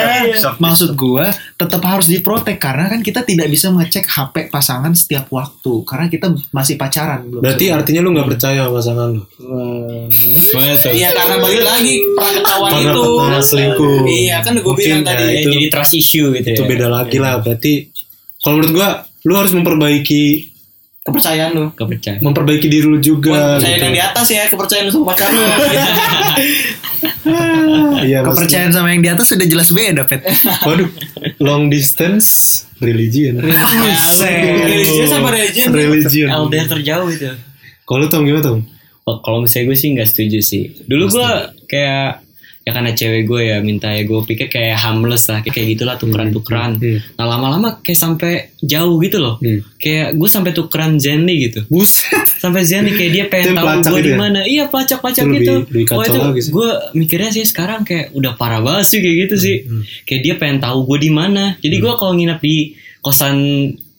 Speaker 1: Maksud gua tetap harus diprotek karena kan kita tidak bisa ngecek HP pasangan setiap waktu karena kita masih pacaran belum.
Speaker 2: Berarti artinya lu nggak percaya sama pasangan lu?
Speaker 3: Gimana tuh?
Speaker 4: Iya karena balik lagi perang ketahuan
Speaker 2: Karena
Speaker 4: itu.
Speaker 2: pertama selingkuh.
Speaker 4: Iya kan gue
Speaker 2: Mungkin
Speaker 4: bilang
Speaker 2: ya,
Speaker 4: tadi.
Speaker 3: Eh,
Speaker 2: itu-
Speaker 3: jadi trust issue gitu
Speaker 2: Itu
Speaker 4: Iya.
Speaker 3: ya.
Speaker 2: beda lagi lah. Berarti kalau menurut gua, lu harus memperbaiki
Speaker 4: Kepercayaan lu.
Speaker 3: Kepercayaan.
Speaker 2: memperbaiki diri lu juga. gitu.
Speaker 4: Kepercayaan yang di atas ya kepercayaan lu sama
Speaker 2: *laughs*
Speaker 4: pacar lu.
Speaker 2: Iya, maksudnya.
Speaker 1: Kepercayaan sama yang di atas sudah jelas beda, Pet.
Speaker 2: Waduh, long distance religion.
Speaker 4: Religion sama religion. ya.
Speaker 2: Religion.
Speaker 3: LDR terjauh itu.
Speaker 2: Kalau lu Tom gimana Tom?
Speaker 3: Wah, Oh, kalau misalnya gue sih nggak setuju sih. Dulu gue kayak ya karena cewek gue ya minta ya gue pikir kayak harmless lah kayak, kayak gitulah tukeran-tukeran.
Speaker 2: Hmm.
Speaker 3: Nah lama-lama kayak sampai jauh gitu loh.
Speaker 2: Hmm.
Speaker 3: Kayak gue sampai tukeran Zenly gitu.
Speaker 2: Buset.
Speaker 3: Sampai Zenly kayak dia
Speaker 2: Itu
Speaker 3: pengen
Speaker 2: yang
Speaker 3: tahu
Speaker 2: pelacak
Speaker 3: gue
Speaker 2: gitu
Speaker 3: di
Speaker 2: ya?
Speaker 3: mana. Iya pelacak-pelacak
Speaker 2: Itu lebih-
Speaker 3: gitu.
Speaker 2: lebih
Speaker 3: Wah
Speaker 2: kacau
Speaker 3: itu
Speaker 2: lagi sih.
Speaker 3: gue mikirnya sih sekarang kayak udah parah banget sih kayak gitu sih.
Speaker 2: Hmm,
Speaker 3: Kayak dia pengen tahu gue di mana. Jadi gue kalau nginep di kosan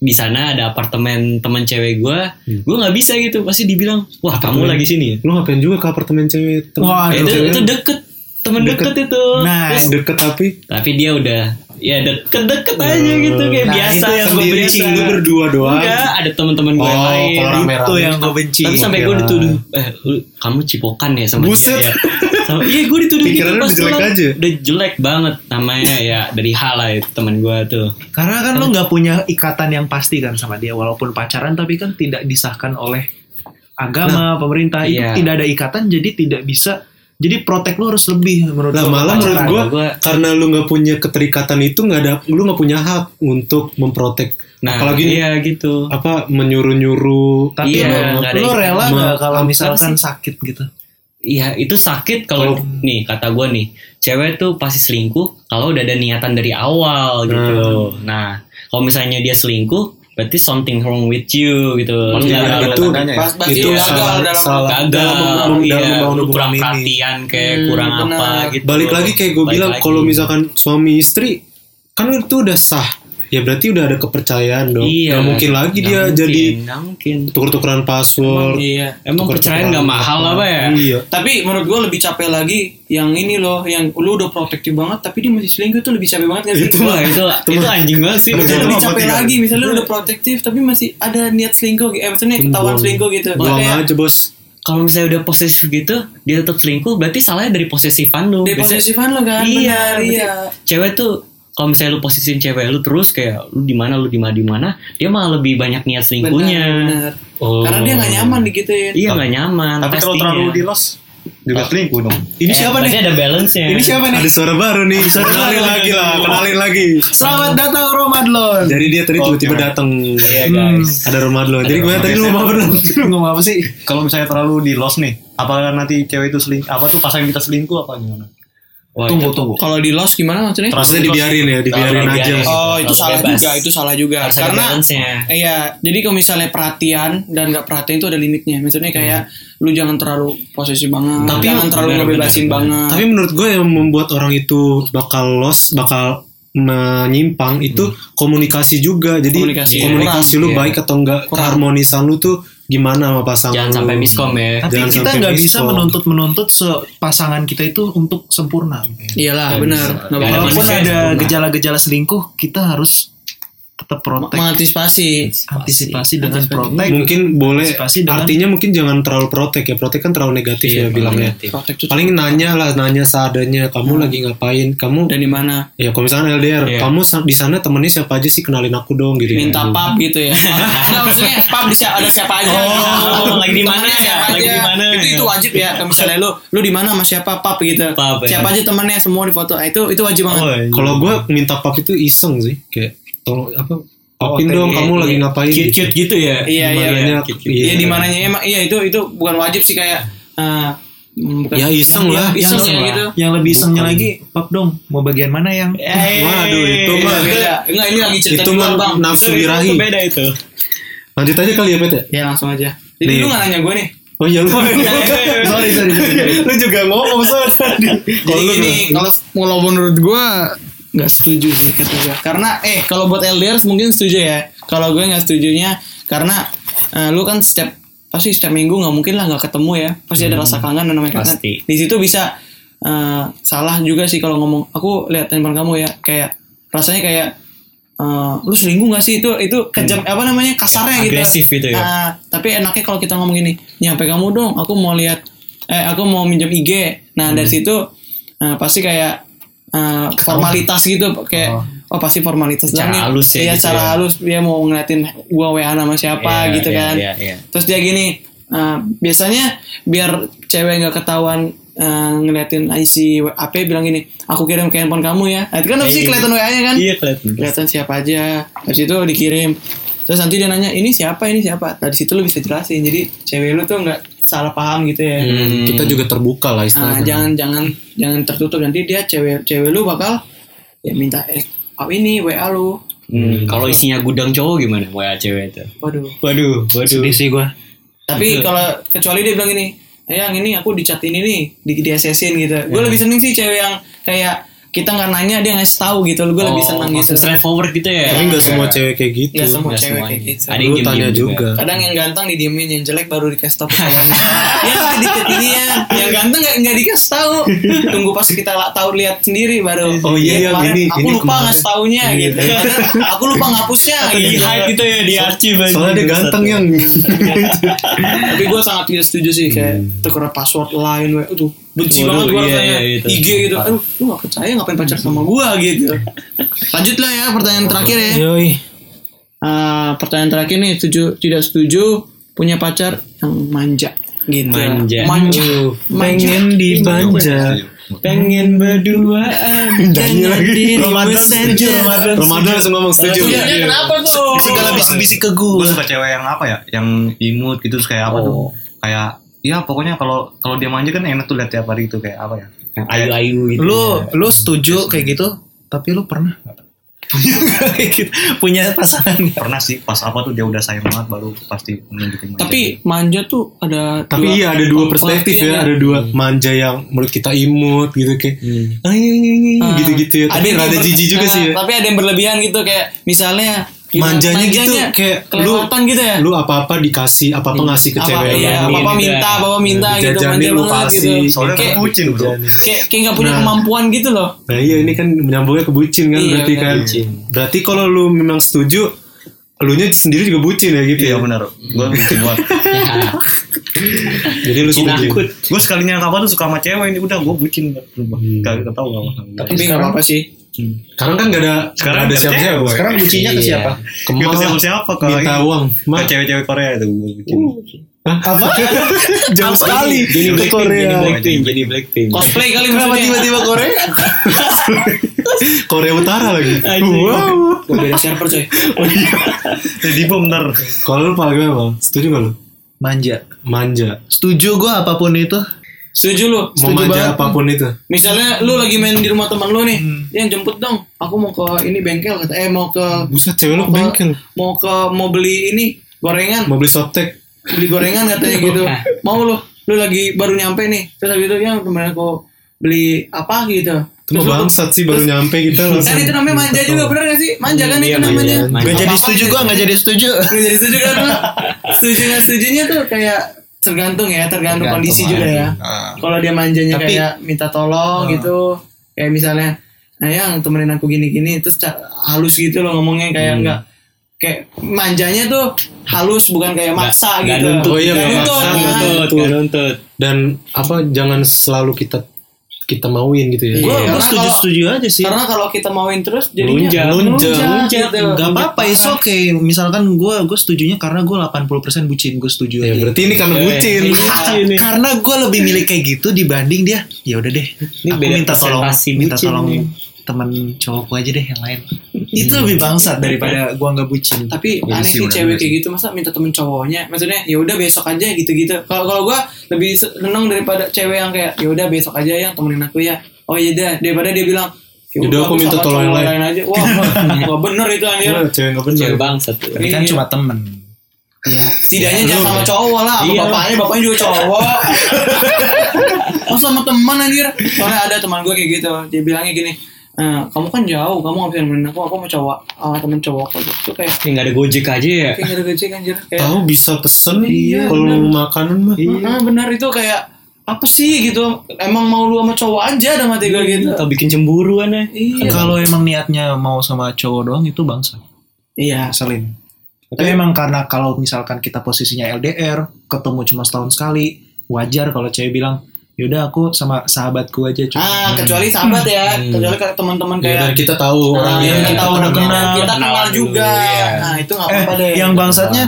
Speaker 3: di sana ada apartemen teman cewek gue,
Speaker 2: Hmm.
Speaker 3: gue nggak bisa gitu. Pasti dibilang, wah kamu lagi sini ya.
Speaker 2: Lu ngapain juga ke apartemen cewek? Tom?
Speaker 1: Wah,
Speaker 3: Eh,
Speaker 1: Aduh,
Speaker 3: itu,
Speaker 2: cewek.
Speaker 3: itu deket temen deket, itu
Speaker 1: Nah,
Speaker 3: Terus-
Speaker 2: deket tapi
Speaker 3: tapi dia udah ya deket-deket aja gitu kayak
Speaker 1: Nah,
Speaker 3: biasa
Speaker 1: itu yang
Speaker 3: gua
Speaker 1: gue benci.
Speaker 3: biasa.
Speaker 1: Lu berdua doang.
Speaker 3: Enggak, ada teman-teman gue yang
Speaker 2: Oh,
Speaker 3: lain.
Speaker 2: kalau rame-rame.
Speaker 1: Itu yang gue benci.
Speaker 3: Tapi sampai gue
Speaker 2: Gila.
Speaker 3: dituduh, eh lu, kamu cipokan ya sama
Speaker 2: Buset.
Speaker 3: dia. Ya. Sama- iya gue dituduh
Speaker 2: Pikiran lu
Speaker 3: pas
Speaker 2: jelek
Speaker 3: pulang.
Speaker 2: aja.
Speaker 3: Udah jelek banget namanya ya dari H lah itu teman gue tuh.
Speaker 1: Karena kan lo nggak punya ikatan yang pasti kan sama dia, walaupun pacaran tapi kan tidak disahkan oleh agama, pemerintah, itu
Speaker 3: iya.
Speaker 1: tidak ada ikatan, jadi tidak bisa. Jadi protek lo harus lebih menurut
Speaker 2: Lah
Speaker 1: gua pacaran.
Speaker 2: malah menurut
Speaker 3: pacaran.
Speaker 2: gua,
Speaker 3: Gua-
Speaker 2: karena lu nggak punya keterikatan itu nggak ada lu nggak punya hak untuk memprotek
Speaker 3: Nah,
Speaker 2: apalagi
Speaker 3: iya gitu.
Speaker 2: apa menyuruh-nyuruh
Speaker 1: Tapi
Speaker 3: Iya,
Speaker 1: lo,
Speaker 3: nggak ada
Speaker 1: lo
Speaker 3: ikatan.
Speaker 1: rela
Speaker 2: Ma-
Speaker 1: nggak kalau
Speaker 2: apa
Speaker 1: misalkan sakit gitu?
Speaker 3: Iya itu sakit kalau
Speaker 2: Hmm.
Speaker 3: nih kata gue nih cewek tuh pasti selingkuh kalau udah ada niatan dari awal
Speaker 2: Oh.
Speaker 3: gitu. Nah kalau misalnya dia selingkuh berarti something wrong with you gitu. Lu
Speaker 2: Iya,
Speaker 3: nggak-
Speaker 2: itu
Speaker 1: tandanya ya?
Speaker 2: pas-
Speaker 4: Pasti
Speaker 2: itu
Speaker 5: Iya,
Speaker 3: gagal
Speaker 2: salah,
Speaker 4: dalam-
Speaker 2: salah dalam,
Speaker 3: gagal,
Speaker 2: mem-
Speaker 3: iya,
Speaker 2: dalam membangun
Speaker 3: lu
Speaker 2: hubungan
Speaker 3: kurang
Speaker 2: ini.
Speaker 3: perhatian kayak
Speaker 4: Hmm,
Speaker 3: kurang apa
Speaker 4: benar.
Speaker 3: gitu.
Speaker 2: Balik lagi kayak gue
Speaker 3: Balik
Speaker 2: bilang
Speaker 3: lagi.
Speaker 2: kalau misalkan suami istri kan itu udah sah. Ya berarti udah ada kepercayaan dong.
Speaker 3: Iya.
Speaker 2: Nggak mungkin lagi
Speaker 3: Nggak
Speaker 2: dia
Speaker 3: mungkin,
Speaker 2: jadi
Speaker 3: nggak mungkin.
Speaker 2: tuker-tukeran password.
Speaker 4: Iya.
Speaker 3: Emang perceraian nggak mahal apa ya?
Speaker 2: Iya.
Speaker 4: Tapi menurut gue lebih capek lagi yang ini loh, yang lu udah protektif banget tapi dia masih selingkuh tuh lebih capek banget gak sih?
Speaker 3: Itu
Speaker 4: *laughs*
Speaker 3: Wah, itu itu anjing banget sih.
Speaker 4: Itu
Speaker 2: Betul.
Speaker 4: lebih
Speaker 2: Betul.
Speaker 4: capek
Speaker 3: iya.
Speaker 2: Betul.
Speaker 4: lagi, misalnya lu udah protektif tapi masih ada niat selingkuh, eh maksudnya ketahuan selingkuh gitu.
Speaker 2: Buang
Speaker 4: Kayak
Speaker 2: aja bos.
Speaker 3: Kalau misalnya udah posesif gitu, dia tetap selingkuh, berarti salahnya dari posesifan lu. Biasanya-
Speaker 4: deposisifan lo kan,
Speaker 3: iya,
Speaker 4: benar,
Speaker 3: berarti
Speaker 4: iya.
Speaker 3: Cewek tuh kalau misalnya lu posisiin cewek lu terus kayak lu di mana lu di mana di mana, dia malah lebih banyak niat selingkuhnya. Oh.
Speaker 4: Benar, benar. Karena dia gak nyaman digituin.
Speaker 3: Iya nggak nyaman.
Speaker 5: Tapi kalau
Speaker 3: pastinya.
Speaker 5: terlalu di los juga selingkuh dong.
Speaker 2: Ini
Speaker 3: Eh,
Speaker 2: siapa nih?
Speaker 3: berarti Ada balance-nya.
Speaker 2: Ini siapa nih? Ada suara baru nih. Kenalin lagi lah, kenalin lagi.
Speaker 1: Selamat datang Romadlon.
Speaker 2: Jadi dia tadi
Speaker 5: Oh,
Speaker 2: tiba-tiba
Speaker 5: gimana?
Speaker 2: datang.
Speaker 3: Iya guys.
Speaker 2: Ada rumah dulu. Jadi gimana tadi lu mau
Speaker 1: *laughs*
Speaker 2: apa dulu?
Speaker 1: Ngomong apa sih?
Speaker 5: Kalau misalnya terlalu di los nih, apakah nanti cewek itu seling apa tuh pasangan kita selingkuh apa gimana?
Speaker 3: Wah,
Speaker 1: Tunggu
Speaker 3: itu
Speaker 1: tunggu.
Speaker 4: Kalau di los gimana maksudnya?
Speaker 2: Maksudnya dibiarin ya, dibiarin
Speaker 3: Terlalu
Speaker 2: aja.
Speaker 3: dibiarin.
Speaker 4: Oh
Speaker 3: Terlalu
Speaker 4: itu salah
Speaker 3: ya. bebas.
Speaker 4: juga, itu salah juga.
Speaker 3: Harus ada
Speaker 4: Karena
Speaker 3: balance-nya.
Speaker 4: iya, jadi kalau misalnya perhatian dan nggak perhatian itu ada limitnya. Misalnya kayak lu jangan terlalu posesif banget,
Speaker 3: Iya. Tapi
Speaker 4: jangan
Speaker 3: lu-
Speaker 4: terlalu
Speaker 3: benar,
Speaker 4: ngebebasin
Speaker 3: benar,
Speaker 4: banget.
Speaker 2: Tapi menurut gue yang membuat orang itu bakal los, bakal menyimpang itu komunikasi juga. Jadi
Speaker 4: Komunikasi.
Speaker 2: komunikasi, lu
Speaker 3: Hmm. Kurang,
Speaker 2: baik atau enggak, keharmonisan lu tuh gimana sama pasangan
Speaker 3: Jangan
Speaker 2: lu.
Speaker 3: sampai miskom ya.
Speaker 1: Tapi
Speaker 2: Jangan
Speaker 1: kita
Speaker 2: sampai
Speaker 1: nggak bisa
Speaker 2: miskom.
Speaker 1: menuntut menuntut pasangan kita itu untuk sempurna.
Speaker 4: Iyalah, benar.
Speaker 3: Nggak Iya, bisa.
Speaker 4: Nggak
Speaker 3: Nggak ada
Speaker 4: bakal-
Speaker 1: Walaupun
Speaker 3: manusia yang
Speaker 1: ada
Speaker 3: sempurna.
Speaker 1: gejala-gejala selingkuh, kita harus tetap protek,
Speaker 4: Mengantisipasi.
Speaker 1: antisipasi dengan protek.
Speaker 2: Mungkin boleh
Speaker 1: Antisipasi dengan-
Speaker 2: artinya mungkin jangan terlalu protek ya. Protek kan terlalu
Speaker 3: Iya,
Speaker 2: negatif ya bilangnya.
Speaker 4: Protek itu
Speaker 2: Paling nanya lah, nanya seadanya. Kamu lagi ngapain? Kamu
Speaker 4: dan di mana?
Speaker 2: ya kalau misalnya LDR,
Speaker 3: Iya.
Speaker 2: kamu sa- di sana temennya siapa aja sih kenalin aku dong gitu.
Speaker 4: Minta
Speaker 2: Gitu.
Speaker 4: pub gitu *laughs* ya. Nah, maksudnya pub bisa ada siapa aja.
Speaker 3: Oh, lagi di mana
Speaker 4: Temennya
Speaker 3: ya?
Speaker 4: siapa
Speaker 3: Lagi
Speaker 4: aja.
Speaker 3: di mana
Speaker 4: Itu
Speaker 3: ya?
Speaker 4: itu wajib ya. Kalau misalnya lu lu di mana sama siapa pub gitu.
Speaker 3: Pub, ya.
Speaker 4: Siapa aja temannya semua di foto. Ah, Itu itu wajib banget.
Speaker 2: Oh, iya. Kalau gue minta pap itu iseng sih, kayak tolong apa?
Speaker 4: Oh,
Speaker 2: Papin dong, kamu lagi ngapain? gitu.
Speaker 3: Cute-cute gitu ya.
Speaker 4: Iya iya iya.
Speaker 2: Dimananya,
Speaker 4: Iya
Speaker 2: iya.
Speaker 4: di mananya emang iya itu itu bukan wajib sih kayak eh, bukan
Speaker 2: Ya iseng lah.
Speaker 4: iseng ya
Speaker 1: yang,
Speaker 4: gitu.
Speaker 1: yang lebih senengnya lagi, pap dong, mau bagian mana yang
Speaker 2: Waduh, itu mah.
Speaker 4: Eh, iya, Beda. Enggak ini lagi cerita
Speaker 2: Itu
Speaker 4: di luar,
Speaker 2: mah
Speaker 4: Bang.
Speaker 2: nafsu birahi.
Speaker 3: Beda itu.
Speaker 2: Lanjut aja kali ya, Pet. ya?
Speaker 4: Ya langsung aja. Jadi
Speaker 2: Nih.
Speaker 4: lu nggak nanya gue nih.
Speaker 2: Oh iya lu.
Speaker 1: sorry sorry.
Speaker 2: *laughs* lu juga ngomong soal tadi. Kalau
Speaker 4: Jadi
Speaker 2: lu
Speaker 4: ini kalau kalau menurut gue nggak setuju sih ketiga. Karena eh kalau buat LDR mungkin setuju ya. Kalau gue nggak setujunya karena eh, lu kan setiap pasti setiap minggu nggak mungkin lah nggak ketemu ya. Pasti
Speaker 2: Hmm,
Speaker 4: ada rasa kangen dan namanya kangen.
Speaker 3: pasti.
Speaker 4: Di situ bisa eh, salah juga sih kalau ngomong aku lihat handphone kamu ya kayak rasanya kayak eh, lu selingkuh gak sih itu itu kejam
Speaker 2: Hmm.
Speaker 4: apa namanya kasarnya gitu
Speaker 3: Agresif gitu ya.
Speaker 4: Ah, tapi enaknya kalau kita ngomong gini, nyampe kamu dong, aku mau lihat, eh aku mau minjem IG. Nah
Speaker 3: Hmm.
Speaker 4: dari situ eh, pasti kayak eh, formalitas gitu, kayak oh, pasti formalitas.
Speaker 3: Cara
Speaker 4: doang nih.
Speaker 3: halus ya
Speaker 4: Iya
Speaker 3: gitu
Speaker 4: cara
Speaker 3: ya.
Speaker 4: halus dia mau ngeliatin gua WA sama siapa
Speaker 3: Iya,
Speaker 4: gitu
Speaker 3: iya,
Speaker 4: kan.
Speaker 3: iya, iya.
Speaker 4: Terus dia gini, eh, biasanya biar cewek nggak ketahuan eh, ngeliatin IC AP bilang gini, aku kirim ke handphone kamu ya. Nah, itu kan pasti kelihatan WA-nya kan
Speaker 3: Iya kelihatan.
Speaker 4: kelihatan siapa aja habis itu dikirim terus nanti dia nanya ini siapa ini siapa dari situ lu bisa jelasin jadi cewek lu tuh nggak salah paham gitu ya
Speaker 2: kita juga terbuka lah
Speaker 4: Nah,
Speaker 2: istilahnya.
Speaker 4: jangan jangan jangan tertutup nanti dia cewek cewek lu bakal ya minta eh, apa ini wa lu
Speaker 3: Hmm, kalau isinya gudang cowok gimana? Wah, cewek itu.
Speaker 4: waduh
Speaker 3: Waduh, waduh.
Speaker 1: Sedih sih gue.
Speaker 4: tapi kalau kecuali dia bilang Ya. ini yang ini aku dicat ini nih di, di SS-in gitu gue lebih seneng sih cewek yang kayak kita nggak nanya dia ngasih tahu gitu gue lebih senang gitu Iya.
Speaker 3: langsung straightforward gitu ya
Speaker 2: Tapi nggak semua cewek kayak gitu.
Speaker 4: Nggak semua
Speaker 3: Nggak
Speaker 4: cewek
Speaker 3: semuanya.
Speaker 4: kayak gitu
Speaker 3: ada yang
Speaker 2: Lu tanya
Speaker 3: diem-diem juga
Speaker 2: juga.
Speaker 4: kadang yang ganteng didiemin yang jelek baru dikasih tahu ke cowoknya *laughs* ya sedikit iya yang ganteng nggak nggak dikasih tahu tunggu pas kita la- tahu lihat sendiri baru
Speaker 2: Oh iya,
Speaker 4: Ya,
Speaker 2: iya,
Speaker 4: kemarin
Speaker 2: ini-
Speaker 4: aku
Speaker 2: ini
Speaker 4: lupa
Speaker 2: kemarin.
Speaker 4: ngasih taunya
Speaker 2: Iya,
Speaker 4: gitu
Speaker 2: iya.
Speaker 4: Padahal aku lupa ngapusnya
Speaker 3: di
Speaker 4: gitu
Speaker 3: hide gitu ya di arsip aja.
Speaker 2: Soalnya dia ganteng yang
Speaker 4: tapi gue sangat tidak setuju sih kayak tukeran password lain we aduh benci
Speaker 3: Waduh,
Speaker 4: banget gue
Speaker 3: iya,
Speaker 4: rasanya
Speaker 3: iya, itu.
Speaker 4: IG gitu aduh lu gak percaya ngapain pacar sama gue gitu lanjut lah ya pertanyaan terakhir ya
Speaker 2: Yoi.
Speaker 4: Eh, pertanyaan terakhir nih setuju tidak setuju punya pacar yang manja gitu
Speaker 3: Manja.
Speaker 4: manja manja Iya,
Speaker 2: Pengen dibanja.
Speaker 3: pengen
Speaker 2: *laughs*
Speaker 3: berduaan
Speaker 4: Iya,
Speaker 2: Nyanyi lagi. Ramadan setuju.
Speaker 3: Ramadan
Speaker 2: iya. Ramadan langsung ngomong setuju.
Speaker 4: Iya, kenapa tuh
Speaker 5: Segala bisik-bisik
Speaker 2: ke
Speaker 5: gue suka cewek yang apa ya yang imut gitu terus kayak apa tuh kayak ya pokoknya kalau kalau dia manja kan enak tuh lihat tiap hari itu kayak apa ya
Speaker 3: Yang ayu-ayu gitu
Speaker 1: Lu lu setuju kayak gitu? Tapi lu pernah nggak? punya kayak gitu? Punya pasangan nggak?
Speaker 5: pernah sih pas apa tuh dia udah sayang banget baru pasti menunjukin manja.
Speaker 4: tapi manja tuh ada
Speaker 2: Tapi
Speaker 4: dua-
Speaker 2: iya ada dua perspektif
Speaker 4: Iya,
Speaker 2: ya, ada dua manja yang menurut kita imut gitu kayak "Ay, ay, ay, ay,"
Speaker 4: Ah,
Speaker 2: gitu-gitu ya. Tapi
Speaker 4: yang
Speaker 2: rada
Speaker 4: ber-
Speaker 2: jijik juga
Speaker 4: ah,
Speaker 2: sih ya.
Speaker 4: Tapi ada yang berlebihan gitu kayak misalnya gimana,
Speaker 2: Manjanya gitu kayak lu
Speaker 4: kelewatan gitu ya.
Speaker 2: lu apa-apa dikasih, apa-apa ngasih ke
Speaker 4: apa,
Speaker 2: cewek
Speaker 4: iya,
Speaker 2: lain.
Speaker 4: apa, apa
Speaker 3: Iya.
Speaker 4: minta, apa, apa minta gitu manja
Speaker 2: Jajanin lu
Speaker 4: banget
Speaker 2: kasih.
Speaker 4: gitu.
Speaker 5: soalnya
Speaker 4: Kayak-
Speaker 5: aku bucin bro
Speaker 4: Kayak kayak nggak punya
Speaker 2: Nah.
Speaker 4: kemampuan gitu loh.
Speaker 2: Nah iya ini kan menyambungnya ke bucin kan
Speaker 4: Iya,
Speaker 2: berarti
Speaker 4: benar,
Speaker 2: kan.
Speaker 4: bucin.
Speaker 2: Berarti kalau lu memang setuju, elunya sendiri juga bucin ya gitu
Speaker 5: iya
Speaker 2: ya.
Speaker 5: benar gue bucin banget
Speaker 2: *laughs* Jadi lu setuju.
Speaker 3: Inakut.
Speaker 5: gue sekalinya apa tuh suka sama cewek ini udah gue bucin banget sumpah. gak
Speaker 2: Hmm.
Speaker 5: gak tau gak paham.
Speaker 4: Tapi nggak apa-apa sih.
Speaker 2: Sekarang kan gak ada
Speaker 5: Sekarang
Speaker 2: nggak ada
Speaker 5: nggak ada
Speaker 1: Eh,
Speaker 2: siapa-siapa.
Speaker 5: cewek.
Speaker 2: Sekarang
Speaker 1: bucinya ke siapa?
Speaker 5: Gak
Speaker 2: Kemal
Speaker 5: tau siapa siapa kalau
Speaker 2: minta uang. Ma,
Speaker 5: ke cewek-cewek Korea itu gue bucin
Speaker 2: apa? *laughs* Jauh sekali.
Speaker 3: Jadi
Speaker 2: Ke
Speaker 3: Blackpink,
Speaker 2: Korea.
Speaker 3: jadi Blackpink, jadi Blackpink.
Speaker 4: Cosplay kali maksudnya.
Speaker 1: *laughs*
Speaker 2: Korea? Korea Utara lagi.
Speaker 3: Anjing.
Speaker 2: Wow.
Speaker 4: Gua beda server coy.
Speaker 5: jadi bener
Speaker 2: Kalau lu paling apa? Setuju gak lu?
Speaker 1: Manja.
Speaker 2: Manja.
Speaker 1: Setuju gue apapun itu.
Speaker 4: Setuju lu.
Speaker 2: Mau
Speaker 1: Setuju
Speaker 2: manja
Speaker 1: banget.
Speaker 2: apapun itu.
Speaker 4: Misalnya lu lagi main di rumah teman lu nih, yang jemput dong. Aku mau ke ini bengkel kata eh mau ke
Speaker 2: Buset cewek lu
Speaker 4: mau
Speaker 2: ke bengkel.
Speaker 4: ke- Mau ke mau beli ini gorengan.
Speaker 2: Mau beli softtek.
Speaker 4: beli gorengan katanya gitu mau lu lu lagi baru nyampe nih terus habis itu yang temen aku beli apa
Speaker 2: Itu
Speaker 4: gitu
Speaker 2: mah
Speaker 4: Terus lu-
Speaker 2: bangsat sih baru nyampe kita
Speaker 4: kan
Speaker 2: langsung.
Speaker 4: itu namanya manja juga bener gak sih manja kan itu namanya
Speaker 3: manja.
Speaker 1: Gak
Speaker 4: Apa-apa
Speaker 1: jadi setuju
Speaker 4: sih.
Speaker 1: gue nggak jadi setuju.
Speaker 4: Nggak jadi setuju kan lu setuju nggak setujunya tuh kayak tergantung ya tergantung kondisi juga ya
Speaker 3: Ah.
Speaker 4: kalau dia manjanya kayak minta tolong gitu kayak misalnya nah yang temenin aku gini-gini terus ca- halus gitu loh ngomongnya kayak nggak kayak manjanya tuh halus bukan kayak maksa
Speaker 3: Nggak
Speaker 4: gitu
Speaker 3: nuntut.
Speaker 2: Oh iya,
Speaker 4: Nggak
Speaker 2: nggak
Speaker 4: nuntut,
Speaker 2: maksa,
Speaker 4: kan?
Speaker 2: nggak
Speaker 3: nuntut, nggak nuntut.
Speaker 2: Dan apa jangan selalu kita kita mauin gitu ya.
Speaker 4: Gua-
Speaker 2: Iya.
Speaker 4: Karena kalau-
Speaker 1: aja sih.
Speaker 4: Karena kalau kita mauin terus jadinya
Speaker 3: Melunjak.
Speaker 4: melunjak,
Speaker 3: Melunjak.
Speaker 4: gitu.
Speaker 1: Gak apa-apa, it's okay. Misalkan gue gue setujunya karena gue 80% bucin gue setuju
Speaker 2: Ya
Speaker 1: aja.
Speaker 4: Iya,
Speaker 2: berarti ini
Speaker 1: Iya.
Speaker 2: karena bucin.
Speaker 1: Ka- karena gue lebih milih kayak gitu dibanding dia ya udah deh
Speaker 3: Ini
Speaker 1: aku
Speaker 3: beda
Speaker 1: minta tolong
Speaker 3: presentasi
Speaker 1: minta
Speaker 3: bucin
Speaker 1: tolong
Speaker 3: nih.
Speaker 1: teman cowokku aja deh yang lain itu lebih bangsat daripada gue nggak bucin
Speaker 4: Tapi aneh sih
Speaker 5: sih, bener-bener
Speaker 4: cewek
Speaker 5: sih.
Speaker 4: kayak gitu masa minta temen cowoknya. Maksudnya ya udah besok aja gitu-gitu. Kalau kalau gua lebih seneng daripada cewek yang kayak ya udah besok aja yang temenin aku ya. Oh iya dah daripada dia bilang "Ya
Speaker 2: Yaudah, aku minta
Speaker 4: sama
Speaker 2: tolong yang
Speaker 4: cowok
Speaker 2: lain. *laughs*
Speaker 4: aja. Wah, wah bener itu anjir.
Speaker 2: Wah, Cewek gak bener.
Speaker 3: Cewek bangsat.
Speaker 1: tapi kan
Speaker 4: Iya.
Speaker 1: cuma temen ya
Speaker 4: Setidaknya jangan sama cowok lah, sama
Speaker 3: Iya.
Speaker 4: bapaknya, bapaknya juga cowok.
Speaker 2: *laughs*
Speaker 4: Masa sama teman anjir. Soalnya ada teman gue kayak gitu, dia bilangnya gini, "Eh, kamu kan jauh, kamu gak bisa nemenin aku, aku mau cowok, sama temen cowok aku. Itu kayak,
Speaker 3: Kayak nggak ada gojek aja ya.
Speaker 4: kayak gak ada gaji anjir. Kayak,
Speaker 2: Tahu bisa pesen
Speaker 4: Iya,
Speaker 2: kalau
Speaker 4: bener.
Speaker 2: mau makanan mah.
Speaker 4: "Ah, benar itu kayak, apa sih gitu, emang mau lu sama cowok aja dalam hati gue gitu.
Speaker 3: Atau bikin cemburu aneh.
Speaker 4: Iya.
Speaker 1: kalau emang niatnya mau sama cowok doang itu bangsat
Speaker 4: Iya.
Speaker 1: ngeselin tapi emang karena kalau misalkan kita posisinya LDR ketemu cuma setahun sekali wajar kalau cewek bilang yaudah aku sama sahabatku aja cuma
Speaker 4: Ah, kecuali sahabat ya, kecuali kayak teman-teman
Speaker 2: Ya, dan
Speaker 4: kayak
Speaker 2: kita tahu orangnya.
Speaker 4: yang Nah, iya, ya, kita udah kenal, kita
Speaker 3: Kenalan
Speaker 4: kenal
Speaker 3: dulu,
Speaker 4: juga.
Speaker 3: iya.
Speaker 4: Nah, itu
Speaker 1: eh
Speaker 4: gak apa-apa deh.
Speaker 1: yang bangsatnya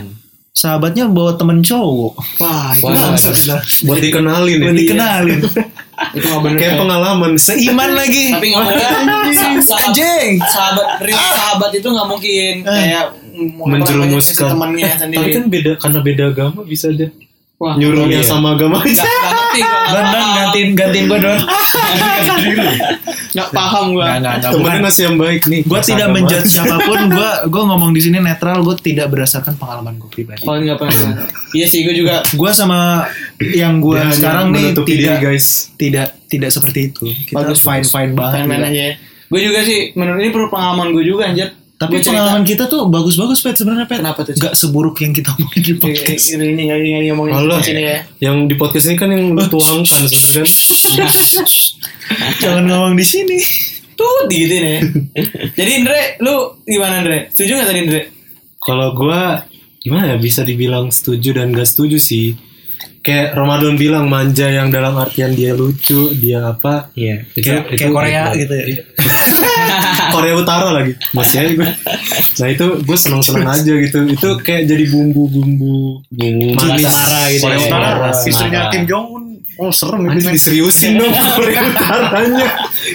Speaker 1: sahabatnya bawa temen cowok
Speaker 4: Wah, itu
Speaker 3: Wah.
Speaker 1: iya,
Speaker 4: bangsat.
Speaker 1: *laughs*
Speaker 2: buat dikenalin ya.
Speaker 1: Buat dikenalin
Speaker 4: Itu gak bener. ya.
Speaker 2: Kayak pengalaman seimbang.
Speaker 1: iman *laughs* lagi
Speaker 4: tapi nggak mungkin sahabat,
Speaker 1: anjing
Speaker 4: sahabat real sahabat itu nggak mungkin kayak mm,
Speaker 2: Menjerumuskan.
Speaker 4: apa namanya, si temannya sendiri
Speaker 2: Tapi kan beda karena beda agama bisa aja.
Speaker 4: wah
Speaker 2: Nyuruh yang sama agama aja.
Speaker 4: nggak nggak ngerti gua,
Speaker 1: Don
Speaker 4: nggak
Speaker 1: Don
Speaker 4: paham.
Speaker 1: gantiin gantiin gue Don
Speaker 4: nggak paham gua
Speaker 1: nggak nggak nggak
Speaker 2: Temennya
Speaker 1: bukan
Speaker 2: ngasih yang baik nih.
Speaker 1: gue
Speaker 2: Bahasa
Speaker 1: tidak
Speaker 2: agama.
Speaker 1: menjudge siapapun gue gue ngomong di sini netral gue tidak berdasarkan pengalaman gue pribadi
Speaker 4: oh nggak paham iya sih gua juga
Speaker 1: gue sama yang gue
Speaker 2: Dia hanya
Speaker 1: sekarang nih
Speaker 2: menutup
Speaker 1: tidak
Speaker 2: diri, guys.
Speaker 1: tidak tidak seperti itu kita
Speaker 4: Bagus,
Speaker 1: fine fine banget
Speaker 4: main-main
Speaker 1: gila.
Speaker 4: aja ya. Gue juga sih, menurut ini perlu pengalaman gue juga anjir.
Speaker 1: tapi
Speaker 4: Gua cerita-
Speaker 1: pengalaman kita tuh bagus bagus pet sebenarnya pet
Speaker 4: Kenapa tuh?
Speaker 1: nggak seburuk yang kita omongin di podcast
Speaker 4: Ini ini ini ini ngomongin
Speaker 2: Allah.
Speaker 4: sini ya.
Speaker 2: Yang di podcast ini kan yang dituangkan soalnya kan. *laughs*
Speaker 1: jangan ngomong di sini
Speaker 4: Tuh digituin ya. Jadi Andre, lu gimana Andre? Setuju gak tadi Andre?
Speaker 2: Kalau gua gimana ya bisa dibilang setuju dan gak setuju sih. Kayak Ramadan bilang manja yang dalam artian dia lucu, dia apa.
Speaker 3: Iya.
Speaker 2: Itu-
Speaker 1: kayak
Speaker 2: itu
Speaker 1: kayak Korea
Speaker 2: baik-baik.
Speaker 1: gitu ya
Speaker 2: *laughs* Korea Utara lagi masih aja gue nah itu gue seneng *laughs* seneng aja gitu itu kayak jadi bumbu bumbu bumbu manis
Speaker 3: asmara gitu
Speaker 5: Korea
Speaker 3: ya.
Speaker 5: Utara
Speaker 1: Iya.
Speaker 3: Marah,
Speaker 5: istrinya
Speaker 3: marah.
Speaker 5: Kim Jong Un oh serem
Speaker 2: Aduh,
Speaker 5: itu
Speaker 2: diseriusin *laughs* dong Korea Utaranya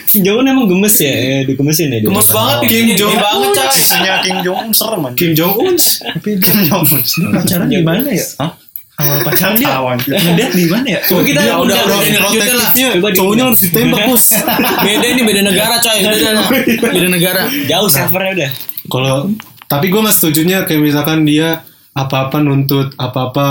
Speaker 3: Kim Jong Un emang gemes ya, eh, digemesin ya. dia.
Speaker 4: Gemes banget
Speaker 2: Kim
Speaker 4: digini,
Speaker 2: Jong
Speaker 4: gini banget, Cak.
Speaker 5: istrinya Kim Jong Un serem anjing.
Speaker 2: Kim Jong Un
Speaker 5: Kim Jong
Speaker 1: *laughs*
Speaker 5: Un
Speaker 1: pacaran di mana ya
Speaker 5: Hah?
Speaker 1: awal pacaran dia
Speaker 5: kawan
Speaker 1: ngeliat di mana ya
Speaker 4: Coba kita
Speaker 2: Dia udah
Speaker 4: udah
Speaker 2: udah
Speaker 4: udah lanjutin lah.
Speaker 2: protektifnya
Speaker 3: Coba diundang.
Speaker 2: cowoknya harus ditembak
Speaker 4: *laughs*
Speaker 2: bos
Speaker 4: Beda ini beda negara coy, beda, beda negara.
Speaker 3: Jauh servernya udah.
Speaker 2: kalau tapi gue mas setujunya kayak misalkan dia apa apa nuntut apa apa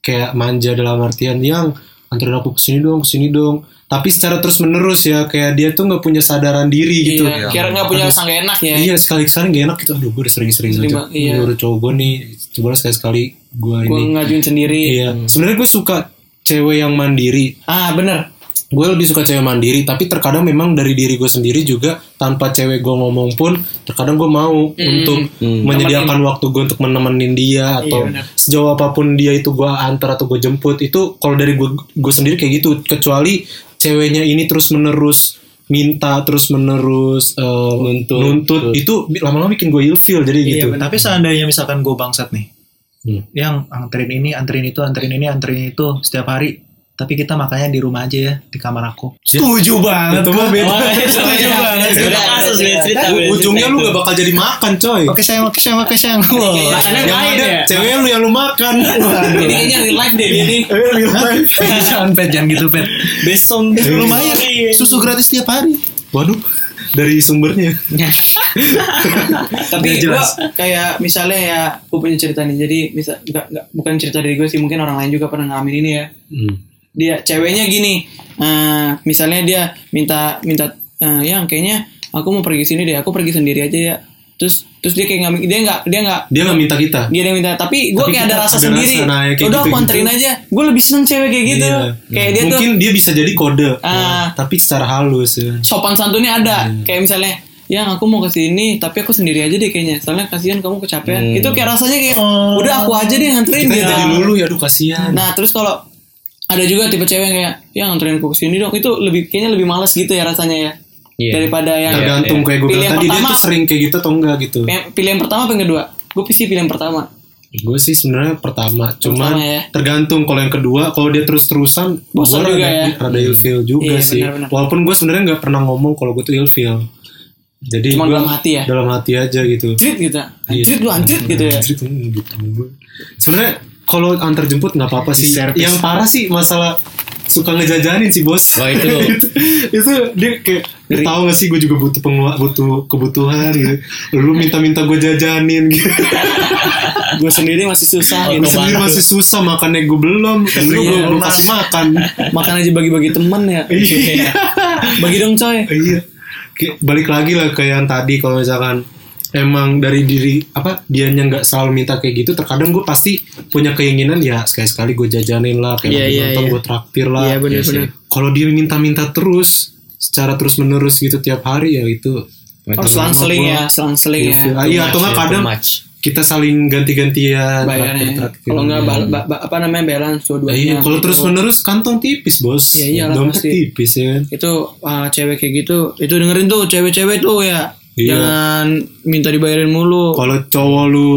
Speaker 2: kayak manja dalam artian yang anterin aku kesini dong kesini dong tapi secara terus menerus ya kayak dia tuh nggak punya sadaran diri gitu
Speaker 4: Iya, kira nggak punya sangga enak ya.
Speaker 2: Iya sekali-sekali gak enak gitu Aduh gue udah sering-sering
Speaker 4: Terima-
Speaker 2: aja
Speaker 4: iya.
Speaker 2: Menurut cowok gue nih Coba lah sekali-sekali gue
Speaker 4: Gue
Speaker 2: ini
Speaker 4: ngajuin sendiri.
Speaker 2: Iya sebenarnya gue suka cewek yang mandiri
Speaker 4: Ah bener.
Speaker 2: Gue lebih suka cewek mandiri Tapi terkadang memang dari diri gue sendiri juga Tanpa cewek gue ngomong pun Terkadang gue mau untuk Menyediakan waktu gue untuk menemenin dia Atau sejauh apapun dia itu gue antar atau gue jemput Itu kalau dari gue, gue sendiri kayak gitu Kecuali ceweknya ini terus menerus minta terus menerus eh, nuntut, itu lama-lama bikin gue ilfeel jadi
Speaker 1: Iya,
Speaker 2: gitu
Speaker 1: tapi seandainya misalkan gue bangsat nih
Speaker 2: Hmm.
Speaker 1: yang anterin ini anterin itu anterin ini anterin itu setiap hari tapi kita makannya di rumah aja ya di kamar aku setuju banget
Speaker 2: Itu mah beda.
Speaker 4: iya.
Speaker 1: setuju banget
Speaker 3: Beda kasus beda cerita. beda
Speaker 2: ujungnya
Speaker 3: cerita
Speaker 2: lu
Speaker 3: itu.
Speaker 2: gak bakal jadi makan coy
Speaker 1: oke sayang oke sayang oke sayang *laughs* Wah.
Speaker 4: Makannya
Speaker 2: yang
Speaker 4: lain
Speaker 2: ada
Speaker 4: ya.
Speaker 2: cewek lu yang lu makan
Speaker 4: Ini kayaknya real life deh ini.
Speaker 1: jangan pet jangan gitu pet
Speaker 3: Besong
Speaker 1: lumayan
Speaker 4: Iya,
Speaker 1: susu gratis tiap hari
Speaker 2: waduh dari sumbernya
Speaker 4: *laughs* Tapi gue kayak misalnya ya gue punya cerita nih. Jadi misal nggak nggak bukan cerita dari gue sih mungkin orang lain juga pernah ngalamin ini ya.
Speaker 2: Hmm.
Speaker 4: Dia ceweknya gini. eh, misalnya dia minta minta eh, yang kayaknya aku mau pergi sini deh. Aku pergi sendiri aja ya. Terus terus dia kayak nggak dia nggak dia nggak
Speaker 2: dia gak minta kita
Speaker 4: dia yang minta tapi gue
Speaker 2: Tapi
Speaker 4: kayak ada
Speaker 2: kita
Speaker 4: rasa
Speaker 2: ada
Speaker 4: sendiri
Speaker 2: rasa, nah, ya, kayak
Speaker 4: udah aku
Speaker 2: gitu-gitu.
Speaker 4: anterin aja gue lebih seneng cewek kayak gitu
Speaker 2: Iya.
Speaker 4: kayak dia tuh
Speaker 2: mungkin dia bisa jadi kode
Speaker 4: Ah.
Speaker 2: tapi secara halus ya.
Speaker 4: sopan santunnya ada
Speaker 2: Hmm.
Speaker 4: kayak misalnya yang aku mau ke sini tapi aku sendiri aja deh kayaknya soalnya kasihan kamu kecapean itu kayak rasanya kayak udah aku aja deh
Speaker 2: Hmm.
Speaker 4: nganterin
Speaker 2: Oh. kita
Speaker 4: gitu
Speaker 2: jadi lulu ya aduh kasihan
Speaker 4: nah terus kalau ada juga tipe cewek yang kayak ya nganterin aku ke sini dong itu lebih kayaknya lebih males gitu ya rasanya ya
Speaker 3: Iya.
Speaker 4: daripada yang
Speaker 2: tergantung kayak gue
Speaker 4: Pilih
Speaker 2: bilang
Speaker 4: yang
Speaker 2: tadi dia
Speaker 4: iya. pertama.
Speaker 2: tuh sering kayak gitu atau enggak gitu
Speaker 4: Yang- pilihan pertama apa yang kedua gue pasti pilihan pertama
Speaker 2: gue sih sebenarnya pertama cuman
Speaker 4: Pertama ya.
Speaker 2: tergantung kalau yang kedua kalau dia terus terusan
Speaker 4: Bosan juga
Speaker 2: rada,
Speaker 4: ya.
Speaker 2: rada ilfeel juga
Speaker 4: Iya,
Speaker 2: sih
Speaker 4: benar-benar.
Speaker 2: walaupun gue sebenarnya nggak pernah ngomong kalau gue tuh ilfeel jadi
Speaker 4: Cuman
Speaker 2: gua
Speaker 4: dalam hati ya?
Speaker 2: dalam hati aja gitu
Speaker 4: treat gitu treat lu antrit gitu ya
Speaker 2: Jadi tuh, hmm, gitu. sebenarnya kalau antar jemput nggak apa-apa sih
Speaker 1: Service.
Speaker 2: yang parah sih masalah suka ngejajanin sih bos
Speaker 3: Wah, itu.
Speaker 2: *laughs* itu dia kayak "Lu tahu gak sih gue juga butuh pengelu- butuh kebutuhan gitu lu minta-minta gue jajanin gitu
Speaker 4: gue sendiri masih susah
Speaker 2: Gue
Speaker 4: gitu
Speaker 2: sendiri masih susah makannya gue belum
Speaker 4: Iya,
Speaker 2: Lu belum belum kasih makan
Speaker 4: makan aja bagi-bagi temen ya
Speaker 2: Iya
Speaker 4: bagi dong coy
Speaker 2: Iya Kayak Balik lagi lah ke yang tadi Kalau misalkan Emang dari diri Apa Dianya nggak selalu minta kayak gitu Terkadang gue pasti Punya keinginan Ya sekali-sekali gue jajanin lah Kayak
Speaker 4: Iya,
Speaker 2: lagi
Speaker 4: iya,
Speaker 2: nonton
Speaker 4: iya.
Speaker 2: gue traktir lah
Speaker 4: Iya, bener-bener.
Speaker 2: Iya sih. Kalau dia minta-minta terus Secara terus menerus gitu tiap hari Ya itu
Speaker 4: harus selang-seling ya selang-seling ya
Speaker 2: Ah, Iya atau nggak kadang Kita saling ganti-gantian
Speaker 4: bayarnya
Speaker 2: traktir-traktir.
Speaker 4: kalau nggak bal- ba- ba- apa namanya balance
Speaker 2: Nah,
Speaker 4: dua-duanya
Speaker 2: iya, kalau
Speaker 4: gitu.
Speaker 2: terus menerus kantong tipis bos,
Speaker 4: Iya, iyalah,
Speaker 2: dompet
Speaker 4: pasti.
Speaker 2: tipis ya kan.
Speaker 4: itu ah, cewek kayak gitu itu dengerin tuh cewek-cewek tuh ya
Speaker 2: Iya.
Speaker 4: jangan minta dibayarin mulu
Speaker 2: Kalau cowok lu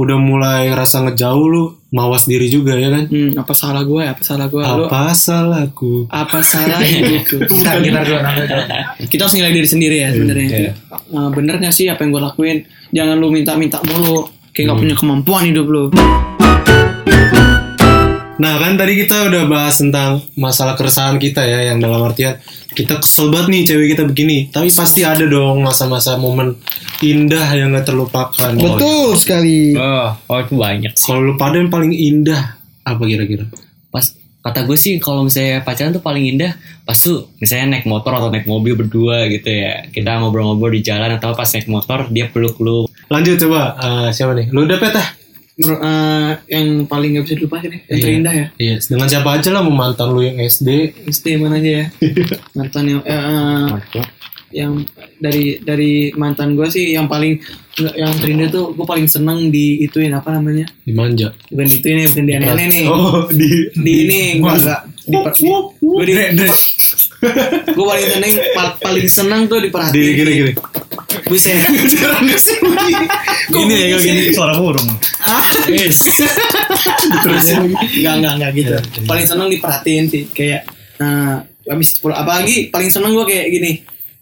Speaker 2: udah mulai rasa ngejauh lu, mawas diri juga ya kan.
Speaker 4: hmm, apa salah gue ya apa salah gue lu
Speaker 2: Apa salahku?
Speaker 4: apa salah
Speaker 2: *laughs*
Speaker 4: itu
Speaker 1: Bentar, bentar, bentar, bentar.
Speaker 4: kita harus nilai diri sendiri ya sebenarnya
Speaker 2: Iya.
Speaker 4: Eh, bener gak sih apa yang gue lakuin jangan lu minta-minta mulu kayak nggak
Speaker 2: Hmm.
Speaker 4: punya kemampuan hidup lu
Speaker 2: Nah kan tadi kita udah bahas tentang masalah keresahan kita ya yang dalam artian kita kesel banget nih cewek kita begini. Tapi pasti ada dong masa-masa momen indah yang gak terlupakan.
Speaker 4: betul sekali
Speaker 3: Oh, oh itu banyak.
Speaker 2: Kalau lu pada yang paling indah apa kira-kira?
Speaker 3: pas kata gue sih kalau misalnya pacaran tuh paling indah pas tuh misalnya naik motor atau naik mobil berdua gitu ya kita ngobrol-ngobrol di jalan atau pas naik motor dia peluk lu
Speaker 2: Lanjut coba eh, siapa nih? Lu udah peta?
Speaker 4: Menurut, eh, yang paling gak bisa dilupakan ya, yang terindah ya.
Speaker 2: Iya. Dengan siapa aja lah mau mantan lu yang SD?
Speaker 4: SD mana aja ya? mantan yang eh, eh, yang dari dari mantan gue sih yang paling yang terindah tuh gue paling seneng di ituin apa namanya?
Speaker 2: Dimanja.
Speaker 4: Bukan di ituin ya, bukan di aneh-aneh nih.
Speaker 2: Oh di
Speaker 4: Di ini gue enggak di, di, gue di, gue paling seneng pa- paling seneng tuh diperhatiin
Speaker 2: di gini gini.
Speaker 4: buset beneran gak sih
Speaker 5: Gini ya gini suara burung.
Speaker 4: Enggak, enggak, enggak gitu. Paling seneng diperhatiin sih kayak nah habis pulang apalagi paling seneng gue kayak gini.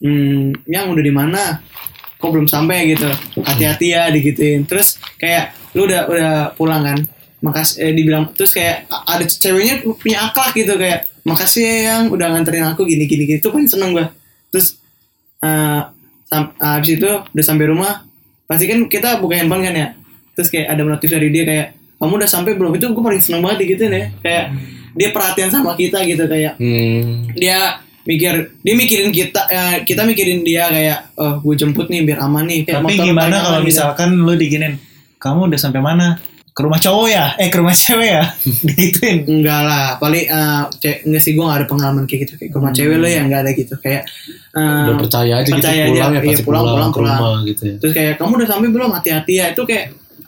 Speaker 4: Hmm, yang udah di mana? Kok belum sampai gitu. Hati-hati ya digituin. Terus kayak lu udah udah pulang kan? Makasih eh, dibilang terus kayak a- ada ceweknya punya akhlak gitu kayak makasih ya yang udah nganterin aku gini gini gitu paling seneng gue. Terus eh sam- habis itu udah sampai rumah pasti kan kita buka handphone kan ya terus kayak ada notif dari dia kayak kamu udah sampai belum itu gue paling seneng banget gitu ya kayak
Speaker 1: Hmm.
Speaker 4: dia perhatian sama kita gitu kayak
Speaker 3: hmm,
Speaker 4: dia mikir dia mikirin kita eh, kita mikirin dia kayak oh gue jemput nih biar aman nih kayak
Speaker 1: Tapi
Speaker 4: motor
Speaker 1: gimana
Speaker 4: banyak
Speaker 1: kalau
Speaker 4: kan, gitu.
Speaker 1: misalkan lu diginin, kamu udah sampai mana? Ke rumah cowok ya? Eh ke rumah cewek ya? *laughs* Digituin.
Speaker 4: Enggak lah, paling eh cewek- enggak sih gue gak ada pengalaman kayak gitu kayak ke
Speaker 1: Hmm.
Speaker 4: rumah cewek lo ya enggak ada gitu kayak eh,
Speaker 2: Udah percaya aja
Speaker 4: percaya
Speaker 2: gitu pulang
Speaker 4: aja,
Speaker 2: ya
Speaker 4: iya,
Speaker 2: pasti Nah, pulang,
Speaker 4: pulang,
Speaker 2: ke
Speaker 4: pulang.
Speaker 2: rumah gitu ya.
Speaker 4: terus kayak kamu udah sampai belum hati-hati ya itu kayak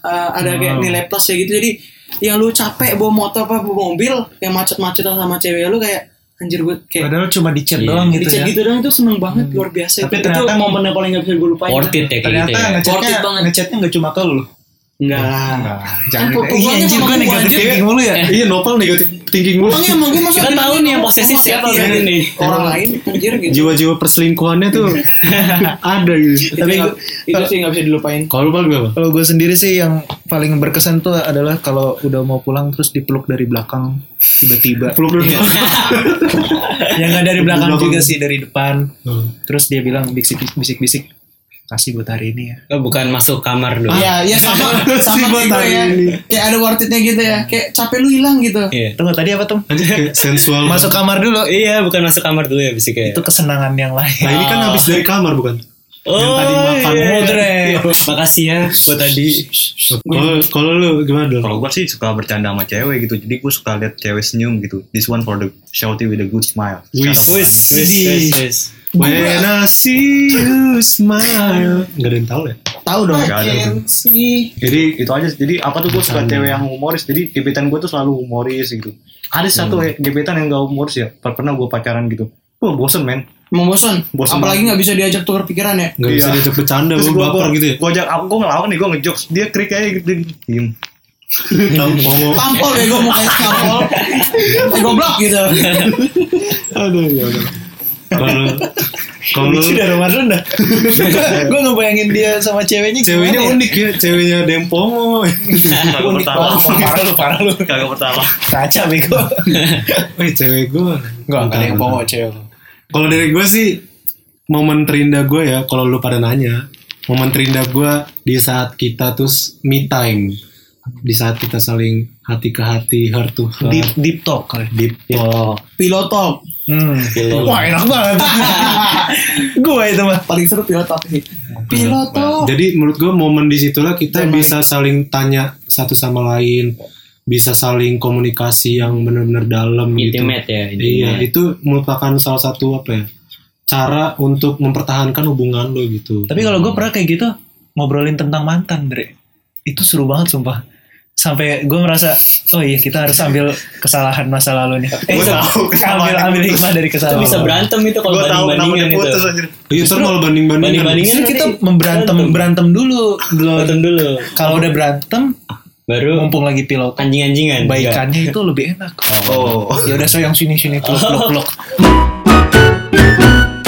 Speaker 4: eh, ada kayak nilai plus ya gitu jadi yang lu capek bawa motor apa bawa mobil kayak macet-macet sama cewek lu kayak anjir gue kayak
Speaker 1: Padahal cuma di chat
Speaker 3: Iya.
Speaker 1: doang gitu
Speaker 4: gitu
Speaker 1: ya.
Speaker 4: gitu dong itu seneng banget luar biasa
Speaker 1: Tapi
Speaker 4: itu,
Speaker 1: ternyata-
Speaker 4: itu momen yang paling gak bisa gue lupain
Speaker 3: worth it ya kayak gitu
Speaker 1: Ternyata
Speaker 3: ya
Speaker 1: ngechatnya
Speaker 4: Worth it banget. Nah,
Speaker 1: ngechatnya nggak cuma ke lu.
Speaker 4: enggak lah
Speaker 1: Jangan.
Speaker 4: pokoknya
Speaker 1: Iya anjir gue
Speaker 4: sama gitu. gua,
Speaker 1: negatif
Speaker 4: anjir.
Speaker 1: thinking mulu ya.
Speaker 2: Iya nopal negatif thinking mulu.
Speaker 4: Emangnya emang gue masa
Speaker 3: Kita tahu nih yang posesif siapa
Speaker 4: nih
Speaker 3: nih.
Speaker 4: Iya. orang lain anjir gitu
Speaker 2: *laughs* Jiwa-jiwa perselingkuhannya *laughs* tuh ada gitu.
Speaker 4: tapi itu sih gak bisa dilupain
Speaker 2: Kalau lu paling berapa?
Speaker 1: Kalau gue sendiri sih yang paling berkesan tuh adalah kalau udah mau pulang terus dipeluk dari belakang tiba-tiba.
Speaker 2: Peluk dulu.
Speaker 1: yang Ya, nggak dari belakang
Speaker 2: belakang.
Speaker 1: juga sih dari depan.
Speaker 2: Hmm.
Speaker 1: Terus dia bilang bisik- bisik-bisik, kasih buat hari ini ya.
Speaker 3: Oh, bukan masuk kamar dulu
Speaker 1: Ah.
Speaker 4: Iya, iya sama sama kayak gue ya. Kayak ada worth it-nya gitu ya. Kayak capek lu hilang gitu.
Speaker 3: Iya.
Speaker 1: Tunggu tadi apa tuh?
Speaker 2: Kayak Sensual.
Speaker 1: Masuk kamar dulu.
Speaker 3: iya bukan masuk kamar dulu ya bisiknya
Speaker 1: Itu kesenangan yang lain.
Speaker 2: Nah ini kan habis dari kamar bukan?
Speaker 3: oh,
Speaker 1: yang tadi makan
Speaker 3: iya.
Speaker 1: mudre.
Speaker 3: makasih ya buat tadi
Speaker 2: Kalau kalau lu gimana dong?
Speaker 5: Kalau gue sih suka bercanda sama cewek gitu, jadi gue suka lihat cewek senyum gitu. This one for the shouty with a good smile.
Speaker 3: wis wis wis wis
Speaker 2: When I see you smile Gak ada yang tau ya
Speaker 1: Tahu dong.
Speaker 4: Nah,
Speaker 5: Gak ada tuh.
Speaker 4: Sih.
Speaker 5: Jadi itu aja. Jadi apa tuh gue suka cewek yang humoris. Jadi gebetan gue tuh selalu humoris gitu. Ada satu
Speaker 2: Hmm.
Speaker 5: he- gebetan yang gak humoris ya. Per- Pernah gue pacaran gitu. Gue bosen men.
Speaker 4: Emang bosan.
Speaker 5: Bosan
Speaker 4: Apalagi nggak bisa diajak tukar pikiran ya.
Speaker 2: Gak bisa
Speaker 5: Iya.
Speaker 2: diajak bercanda Gue
Speaker 5: gua-
Speaker 2: baper
Speaker 5: gua-
Speaker 2: gitu ya
Speaker 5: Gue ajak aku gue ngelawak nih gue ngejokes. Dia krik aja gitu. Dia Diem.
Speaker 2: *laughs* Tahu ngomong
Speaker 4: Tampol ya gue mukanya tampol. Eh goblok gitu.
Speaker 2: Aduh ya udah Kalau
Speaker 1: *laughs*
Speaker 2: Kalau Nah, lu-
Speaker 1: Lucu dari Ramadan dah. gue ngebayangin dia sama ceweknya
Speaker 2: Ceweknya
Speaker 1: gimana ya?
Speaker 2: unik ya Ceweknya dempongo
Speaker 5: Kagak pertama. *laughs*
Speaker 1: Parah, parah lu, parah lu.
Speaker 5: Kagak pertama.
Speaker 1: Kaca bego.
Speaker 2: Wih cewek gue
Speaker 1: Enggak, enggak ada yang pokok cewek.
Speaker 2: Kalau dari gue sih Momen terindah gue ya Kalau lu pada nanya Momen terindah gue Di saat kita terus Me time Di saat kita saling Hati ke hati Heart to heart
Speaker 1: Deep deep talk kali. Iya.
Speaker 2: Deep talk
Speaker 4: Pilotop.
Speaker 1: Hmm. Wah, enak banget. gue itu mah.
Speaker 4: Paling seru pilotop sih.
Speaker 1: Oh.
Speaker 4: Pilotop.
Speaker 2: Jadi menurut gue momen disitulah kita bisa saling tanya satu sama lain, bisa saling komunikasi yang benar-benar dalam gitu.
Speaker 3: intimate ya
Speaker 2: Iya,
Speaker 3: intimate.
Speaker 2: itu merupakan salah satu apa ya? Cara untuk mempertahankan hubungan lo gitu.
Speaker 1: Tapi kalau gue pernah kayak gitu ngobrolin tentang mantan, Dre. Itu seru banget sumpah. Sampai gue merasa, oh iya kita harus ambil kesalahan masa lalu nih. Eh,
Speaker 5: Gua tahu
Speaker 1: ambil
Speaker 5: kesalahan
Speaker 1: ambil
Speaker 5: itu.
Speaker 1: hikmah dari
Speaker 3: itu
Speaker 1: kesalahan.
Speaker 3: bisa berantem itu kalau
Speaker 5: Gue tahu
Speaker 3: banding
Speaker 5: kenapa dia
Speaker 3: bandingan itu
Speaker 5: putus anjir.
Speaker 2: Iya, terus kalau banding-bandingan.
Speaker 3: banding-bandingan
Speaker 1: Jadi kita
Speaker 3: nanti
Speaker 1: berantem berantem dulu. Belum-
Speaker 3: kan berantem dulu
Speaker 1: Kalau udah berantem,
Speaker 3: baru
Speaker 1: mumpung lagi pilot,
Speaker 3: anjing-anjingan
Speaker 1: baikannya itu lebih enak.
Speaker 5: Oh.
Speaker 1: Ya udah so yang sini sini peluk peluk peluk.